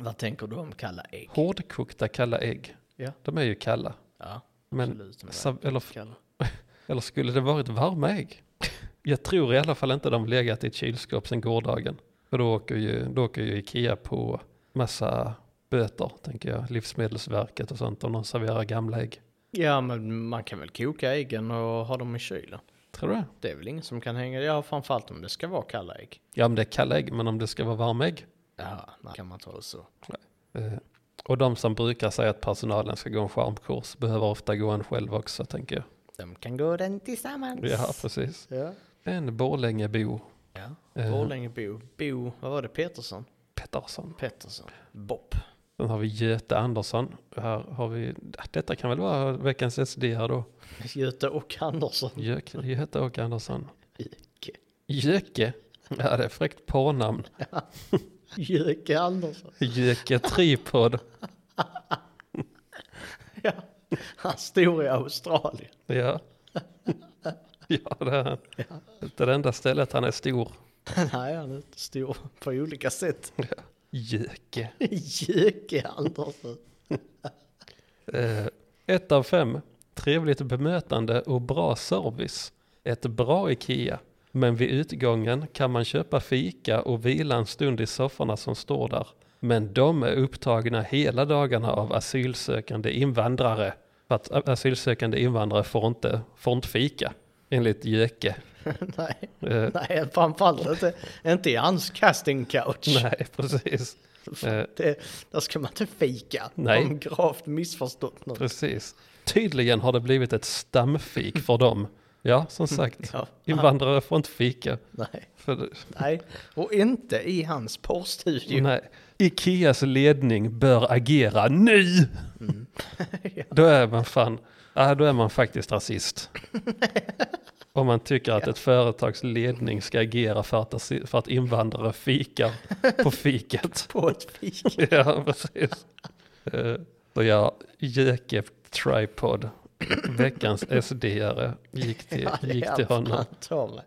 [SPEAKER 1] Vad tänker du om kalla ägg?
[SPEAKER 3] Hårdkokta kalla ägg.
[SPEAKER 1] Ja.
[SPEAKER 3] De är ju kalla.
[SPEAKER 1] Ja,
[SPEAKER 3] Men,
[SPEAKER 1] absolut. de är
[SPEAKER 3] sa, eller,
[SPEAKER 1] kalla.
[SPEAKER 3] eller skulle det varit varma ägg? Jag tror i alla fall inte de legat i ett kylskåp sedan gårdagen. För då åker ju, då åker ju Ikea på massa böter, tänker jag. Livsmedelsverket och sånt om de serverar gamla ägg.
[SPEAKER 1] Ja, men man kan väl koka äggen och ha dem i kylen.
[SPEAKER 3] Tror du det?
[SPEAKER 1] Det är väl ingen som kan hänga. Ja, framförallt om det ska vara kalla ägg.
[SPEAKER 3] Ja, men det är kalla ägg, men om det ska vara varma ägg.
[SPEAKER 1] Ja, nej, kan man ta det så.
[SPEAKER 3] Eh, Och de som brukar säga att personalen ska gå en charmkurs behöver ofta gå en själv också, tänker jag.
[SPEAKER 1] De kan gå den tillsammans.
[SPEAKER 3] Ja, precis.
[SPEAKER 1] Ja.
[SPEAKER 3] En Borlängebo
[SPEAKER 1] ja.
[SPEAKER 3] Eh.
[SPEAKER 1] Borlängebo. Bo, vad var det? Petersson?
[SPEAKER 3] Pettersson.
[SPEAKER 1] Pettersson. Bopp.
[SPEAKER 3] Sen har vi Göte Andersson. Här har vi, detta kan väl vara veckans SD här då.
[SPEAKER 1] Göte och Andersson.
[SPEAKER 3] Gö- Göte och Andersson.
[SPEAKER 1] Jöke.
[SPEAKER 3] Jöke. Ja, det är fräckt porrnamn.
[SPEAKER 1] Jöke Andersson.
[SPEAKER 3] Jöke Tripod.
[SPEAKER 1] Ja. Han stod i Australien.
[SPEAKER 3] Ja. Ja, det är han. Inte det enda stället han är stor.
[SPEAKER 1] Nej, han är inte stor på olika sätt.
[SPEAKER 3] Jöke.
[SPEAKER 1] Jöke Andersson.
[SPEAKER 3] Eh, ett av fem. Trevligt bemötande och bra service. Ett bra IKEA. Men vid utgången kan man köpa fika och vila en stund i sofforna som står där. Men de är upptagna hela dagarna av asylsökande invandrare. För att a- asylsökande invandrare får inte, får inte fika, enligt Jöke.
[SPEAKER 1] Nej,
[SPEAKER 3] Eh,
[SPEAKER 1] nej, framförallt inte, inte i hans casting couch.
[SPEAKER 3] nej, precis. Eh,
[SPEAKER 1] Det, där ska man inte fika.
[SPEAKER 3] Nej.
[SPEAKER 1] Om gravt missförstått något.
[SPEAKER 3] precis. Tydligen har det blivit ett stamfik för dem. Ja, som sagt.
[SPEAKER 1] Ja, Ah,
[SPEAKER 3] Invandrare får inte fika.
[SPEAKER 1] nej,
[SPEAKER 3] För det,
[SPEAKER 1] nej. Och inte i hans porrstudio.
[SPEAKER 3] Nej. Ikeas ledning bör agera nu!
[SPEAKER 1] Mm.
[SPEAKER 3] Då är man fan, ja, då är man faktiskt rasist. Om man tycker att ett företags ledning ska agera för att, asi- för att invandrare fikar på fiket.
[SPEAKER 1] På ett fik.
[SPEAKER 3] ja, precis. Eh, Så ja, Jöke Tripod, veckans SD-are, gick till,
[SPEAKER 1] Ja, det
[SPEAKER 3] gick
[SPEAKER 1] är
[SPEAKER 3] till
[SPEAKER 1] fan
[SPEAKER 3] honom.
[SPEAKER 1] ta mig.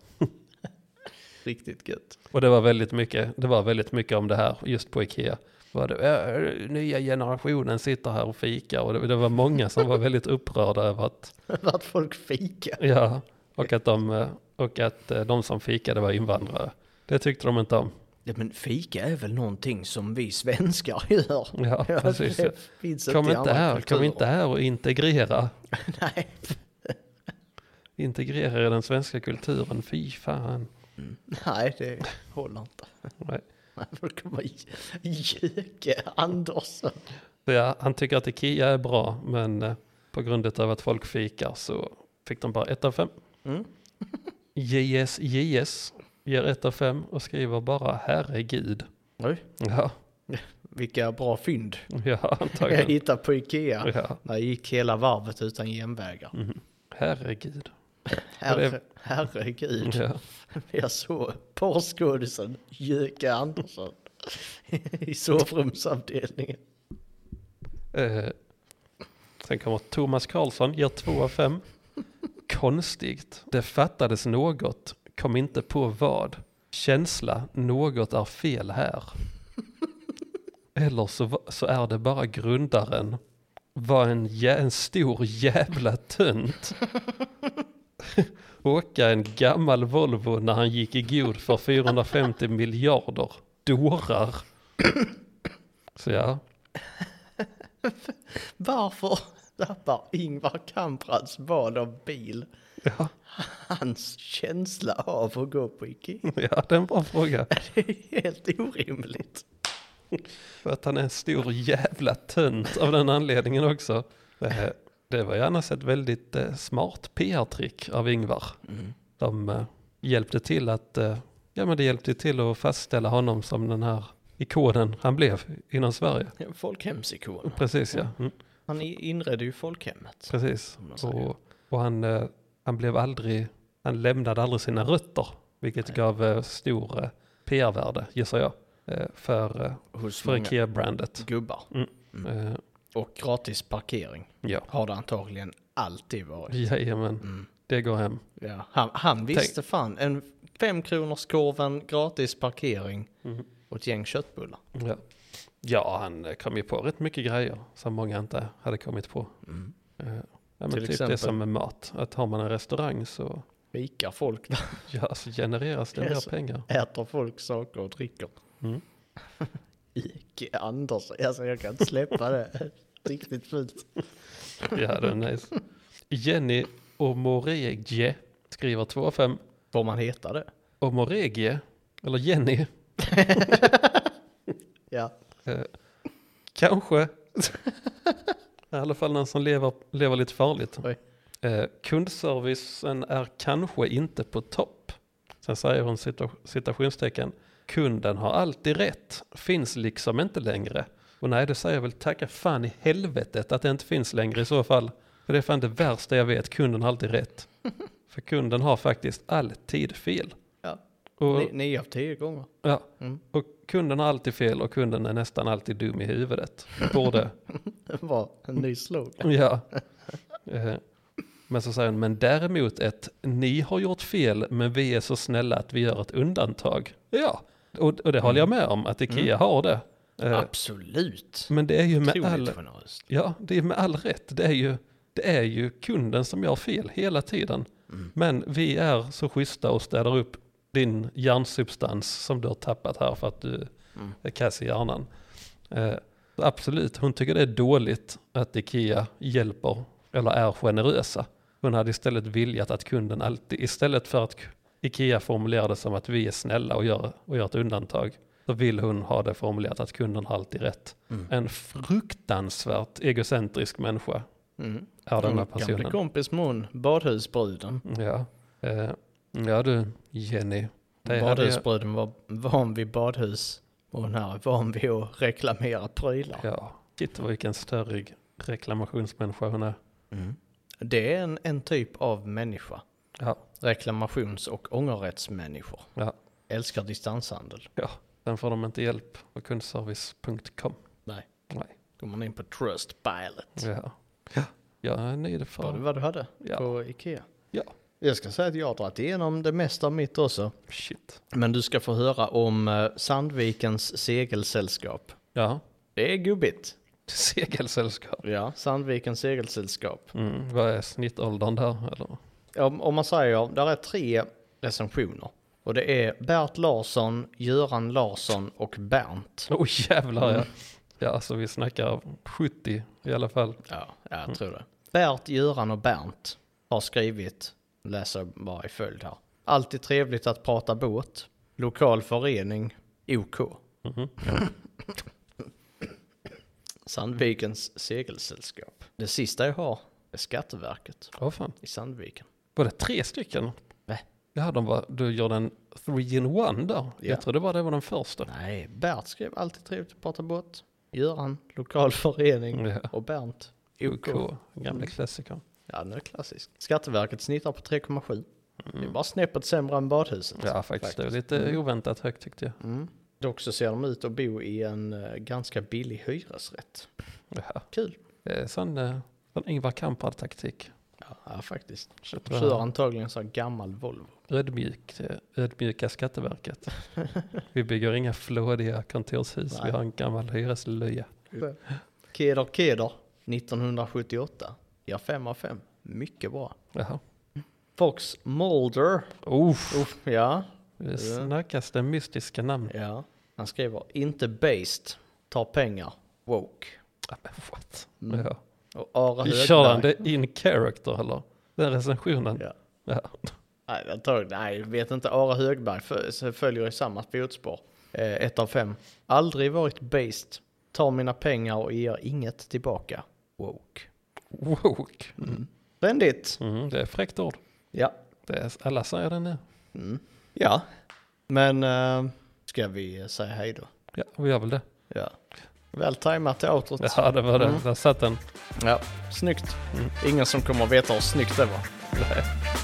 [SPEAKER 1] Riktigt gött.
[SPEAKER 3] Och det var väldigt mycket, det var väldigt mycket om det här just på Ikea. Var det, "Äh, nya generationen sitter här och fikar och det, det var många som var väldigt upprörda över att,
[SPEAKER 1] Vart folk fika.
[SPEAKER 3] ja, och att, de, eh, och att eh, de som fikade var invandrare. Det tyckte de inte om.
[SPEAKER 1] Ja, men fika är väl någonting som vi svenskar gör.
[SPEAKER 3] Ja, precis.
[SPEAKER 1] det finns
[SPEAKER 3] Kom
[SPEAKER 1] i
[SPEAKER 3] inte
[SPEAKER 1] andra
[SPEAKER 3] här, kom
[SPEAKER 1] kulturer.
[SPEAKER 3] inte här och integrera.
[SPEAKER 1] Nej.
[SPEAKER 3] Integrera i den svenska kulturen, fy fan.
[SPEAKER 1] Nej, det håller inte.
[SPEAKER 3] Nej.
[SPEAKER 1] Nej, Folk kommer i- Jöke Andersson.
[SPEAKER 3] Så ja, han tycker att Ikea är bra, men eh, på grund av att folk fikar så fick de bara ett av fem.
[SPEAKER 1] Mm.
[SPEAKER 3] JS JS ger 1 av 5 och skriver bara herregud.
[SPEAKER 1] Oj,
[SPEAKER 3] Ja,
[SPEAKER 1] vilka bra fynd
[SPEAKER 3] ja
[SPEAKER 1] jag
[SPEAKER 3] antagligen.
[SPEAKER 1] hittade på Ikea.
[SPEAKER 3] Ja.
[SPEAKER 1] När jag gick hela varvet utan genvägar.
[SPEAKER 3] Mm. Herregud.
[SPEAKER 1] Herre, herregud.
[SPEAKER 3] Ja.
[SPEAKER 1] Jag såg porrskådisen Jöke Andersson i sovrumsavdelningen.
[SPEAKER 3] Eh, sen kommer Thomas Karlsson, gör 2 av 5. Konstigt. Det fattades något, kom inte på vad. Känsla, något är fel här. Eller så, va- så är det bara grundaren. Var en, jä- en stor jävla tönt. Åka en gammal Volvo när han gick i god för 450 miljarder. Dårar. Så ja,
[SPEAKER 1] Varför tappar Ingvar Kamprads val av bil
[SPEAKER 3] ja.
[SPEAKER 1] hans känsla av att gå på Ikea?
[SPEAKER 3] Ja, det är en bra fråga.
[SPEAKER 1] Det är helt orimligt.
[SPEAKER 3] För att han är en stor jävla tönt av den anledningen också. Eh, Det var ju annars ett väldigt eh, smart PR-trick av Ingvar.
[SPEAKER 1] Mm.
[SPEAKER 3] De eh, hjälpte till att eh, ja, men det hjälpte till att fastställa honom som den här ikonen han blev inom Sverige.
[SPEAKER 1] En folkhemsikon.
[SPEAKER 3] Precis ja. Mm,
[SPEAKER 1] Han i- inredde ju folkhemmet.
[SPEAKER 3] precis.
[SPEAKER 1] man säger.
[SPEAKER 3] Och, och han, eh, han blev aldrig, han lämnade aldrig sina rötter. Vilket gav eh, stor eh, PR-värde gissar jag. eh, För, eh,
[SPEAKER 1] Hos
[SPEAKER 3] för
[SPEAKER 1] många Mm.
[SPEAKER 3] Ikea-brandet.
[SPEAKER 1] gubbar.
[SPEAKER 3] Eh,
[SPEAKER 1] Och gratis parkering
[SPEAKER 3] Ja,
[SPEAKER 1] har det antagligen alltid varit. Mm,
[SPEAKER 3] jajamän. Det går hem.
[SPEAKER 1] Ja. Han, han visste fan en femkronorskorven, gratis parkering
[SPEAKER 3] Mhm.
[SPEAKER 1] och ett gäng köttbullar.
[SPEAKER 3] Ja. ja, han eh, kom ju på rätt mycket grejer som många inte hade kommit på.
[SPEAKER 2] Mm.
[SPEAKER 3] Eh, Ja, men
[SPEAKER 1] Till
[SPEAKER 3] typ
[SPEAKER 1] exempel?
[SPEAKER 3] det som med mat, att har man en restaurang så,
[SPEAKER 1] Vikar folk där,
[SPEAKER 3] ja, så genereras det
[SPEAKER 1] Det är
[SPEAKER 3] mer
[SPEAKER 1] så.
[SPEAKER 3] pengar.
[SPEAKER 1] äter folk saker och dricker.
[SPEAKER 3] Mm.
[SPEAKER 1] Ike Andersson, alltså jag kan inte släppa det. Riktigt fult.
[SPEAKER 3] Ja, det är nice. Jenny Omoregie skriver 2,5.
[SPEAKER 1] Får man heta det?
[SPEAKER 3] Omoregie, eller Jenny,
[SPEAKER 1] Ja.
[SPEAKER 3] eh, kanske. I alla fall någon som lever, lever lite farligt.
[SPEAKER 1] Oj.
[SPEAKER 3] Eh, kundservicen är kanske inte på topp. Sen säger hon cita- citationstecken. Kunden har alltid rätt, finns liksom inte längre. Och nej, det säger jag väl tacka fan i helvetet att det inte finns längre i så fall. För det är fan det värsta jag vet, kunden har alltid rätt. För kunden har faktiskt alltid fel.
[SPEAKER 1] ja.
[SPEAKER 3] Och,
[SPEAKER 1] Ni- Nio av tio gånger.
[SPEAKER 3] ja,
[SPEAKER 1] Mm.
[SPEAKER 3] och kunden har alltid fel och kunden är nästan alltid dum i huvudet. Borde
[SPEAKER 1] Det var en ny slogan.
[SPEAKER 3] Ja. Eh, Men så säger hon, men däremot ett, ni har gjort fel men vi är så snälla att vi gör ett undantag. Ja, och, och det håller jag med om att Ikea har det. Eh,
[SPEAKER 1] Absolut.
[SPEAKER 3] Men det är ju med
[SPEAKER 1] Otroligt
[SPEAKER 3] all,
[SPEAKER 1] generöst.
[SPEAKER 3] ja, det är med all rätt, det är, ju, det är ju kunden som gör fel hela tiden. Men vi är så schyssta och städar upp din hjärnsubstans som du har tappat här för att du är kass i hjärnan. Eh, så absolut, hon tycker det är dåligt att Ikea hjälper eller är generösa. Hon hade istället viljat att kunden alltid, istället för att Ikea formulerade som att vi är snälla och gör, och gör ett undantag, så vill hon ha det formulerat att kunden har alltid rätt. En fruktansvärt egocentrisk människa
[SPEAKER 1] Mm.
[SPEAKER 3] är den här
[SPEAKER 1] Hon kan bli
[SPEAKER 3] personen.
[SPEAKER 1] kompis med hon, badhusbruden.
[SPEAKER 3] Ja, eh, ja du Jenny. Det hade jag-
[SPEAKER 1] Badhusbruden var van vid badhus och hon här är van vid att reklamera prylar.
[SPEAKER 3] Ja, titta vilken störrig reklamationsmänniska hon är.
[SPEAKER 1] Det är en, en typ av människa.
[SPEAKER 3] Ja,
[SPEAKER 1] Reklamations och ångerrättsmänniskor.
[SPEAKER 3] ja,
[SPEAKER 1] Älskar distanshandel.
[SPEAKER 3] ja. Sen får de inte hjälp på kundservice.com.
[SPEAKER 1] Nej,
[SPEAKER 3] Nej,
[SPEAKER 1] går man in på Trustpilot.
[SPEAKER 3] ja. Ja, jag är nöjd
[SPEAKER 1] Var det
[SPEAKER 3] för.
[SPEAKER 1] vad du hade
[SPEAKER 3] Ja.
[SPEAKER 1] på Ikea?
[SPEAKER 3] Ja,
[SPEAKER 1] Jag ska säga att jag har dragit igenom det mesta av mitt också.
[SPEAKER 3] shit.
[SPEAKER 1] Men du ska få höra om eh, Sandvikens segelsällskap.
[SPEAKER 3] Ja,
[SPEAKER 1] Det är gubbigt.
[SPEAKER 3] segelsällskap.
[SPEAKER 1] Ja, Sandvikens segelsällskap.
[SPEAKER 3] Mm, vad är snittåldern där? Eller?
[SPEAKER 1] Om, om man säger, där är tre recensioner. Och det är Bert Larsson, Göran Larsson och Bernt.
[SPEAKER 3] Oj jävlar
[SPEAKER 1] Mm.
[SPEAKER 3] ja. Ja, alltså vi snackar 70 i alla fall.
[SPEAKER 1] Ja, jag tror det. Mm. Bert, Göran och Bernt har skrivit, läser bara i följd här. Alltid trevligt att prata båt. Lokal förening, OK. Mhm. Sandvikens segelsällskap. Det sista jag har är Skatteverket
[SPEAKER 3] Vad fan.
[SPEAKER 1] i Sandviken.
[SPEAKER 3] Var det tre stycken?
[SPEAKER 1] Va?
[SPEAKER 3] Ja, de var, du gjorde en three in one där.
[SPEAKER 1] Ja.
[SPEAKER 3] Jag trodde bara det var den första.
[SPEAKER 1] Nej, Bert skrev alltid trevligt att prata båt. Göran, lokal förening
[SPEAKER 3] Ja.
[SPEAKER 1] och Bernt, OK.
[SPEAKER 3] OK, gamla klassikern.
[SPEAKER 1] Ja, den är klassisk. Skatteverket snittar på 3,7. Det är bara Mm. snäppet sämre än badhuset.
[SPEAKER 3] Mm.
[SPEAKER 1] Mm.
[SPEAKER 3] Ja, faktiskt. Det var lite oväntat högt tyckte jag.
[SPEAKER 1] Dock så ser de ut att bo i en eh, ganska billig hyresrätt.
[SPEAKER 3] Ja.
[SPEAKER 1] Kul.
[SPEAKER 3] Det är sån, eh, sån Ingvar Kamprad-taktik.
[SPEAKER 1] Ja, faktiskt. De
[SPEAKER 3] Köper
[SPEAKER 1] kör
[SPEAKER 3] han.
[SPEAKER 1] antagligen så här gammal Volvo.
[SPEAKER 3] Ödmjuk, eh, ödmjuka Skatteverket. vi bygger inga flådiga kontorshus.
[SPEAKER 1] Nej.
[SPEAKER 3] Vi har en gammal hyreslöja.
[SPEAKER 1] Keder Keder 1978. Ja, 5 av 5. Mycket bra.
[SPEAKER 3] Jaha.
[SPEAKER 1] Fox Mulder.
[SPEAKER 3] Uff.
[SPEAKER 1] Uff, ja,
[SPEAKER 3] Det snackas det mystiska namn.
[SPEAKER 1] ja. Han skriver inte based, tar pengar, woke.
[SPEAKER 3] Ja, men What?
[SPEAKER 1] Mm.
[SPEAKER 3] Ja.
[SPEAKER 1] Och Ara
[SPEAKER 3] Vi Kör han
[SPEAKER 1] Högberg.
[SPEAKER 3] det in character eller? Den recensionen?
[SPEAKER 1] Ja.
[SPEAKER 3] Ja.
[SPEAKER 1] Nej, jag tror, nej, jag vet inte. Ara Högberg fö- följer i samma fotspår. Eh, ett av fem. Aldrig varit based, tar mina pengar och ger inget tillbaka, woke. Mm.
[SPEAKER 3] Woke.
[SPEAKER 1] Trendigt.
[SPEAKER 3] Mm, det är ett fräckt ord.
[SPEAKER 1] Ja. Mm.
[SPEAKER 3] Det är, alla säger det nu.
[SPEAKER 1] Ja. Men eh, ska vi säga hej då?
[SPEAKER 3] Ja, vi gör väl det.
[SPEAKER 1] Ja. Väl tajmat till outrot.
[SPEAKER 3] Ja, det var det. Där satt den. Mm.
[SPEAKER 1] Ja, snyggt. Ingen som kommer att veta hur snyggt det var.
[SPEAKER 3] Nej.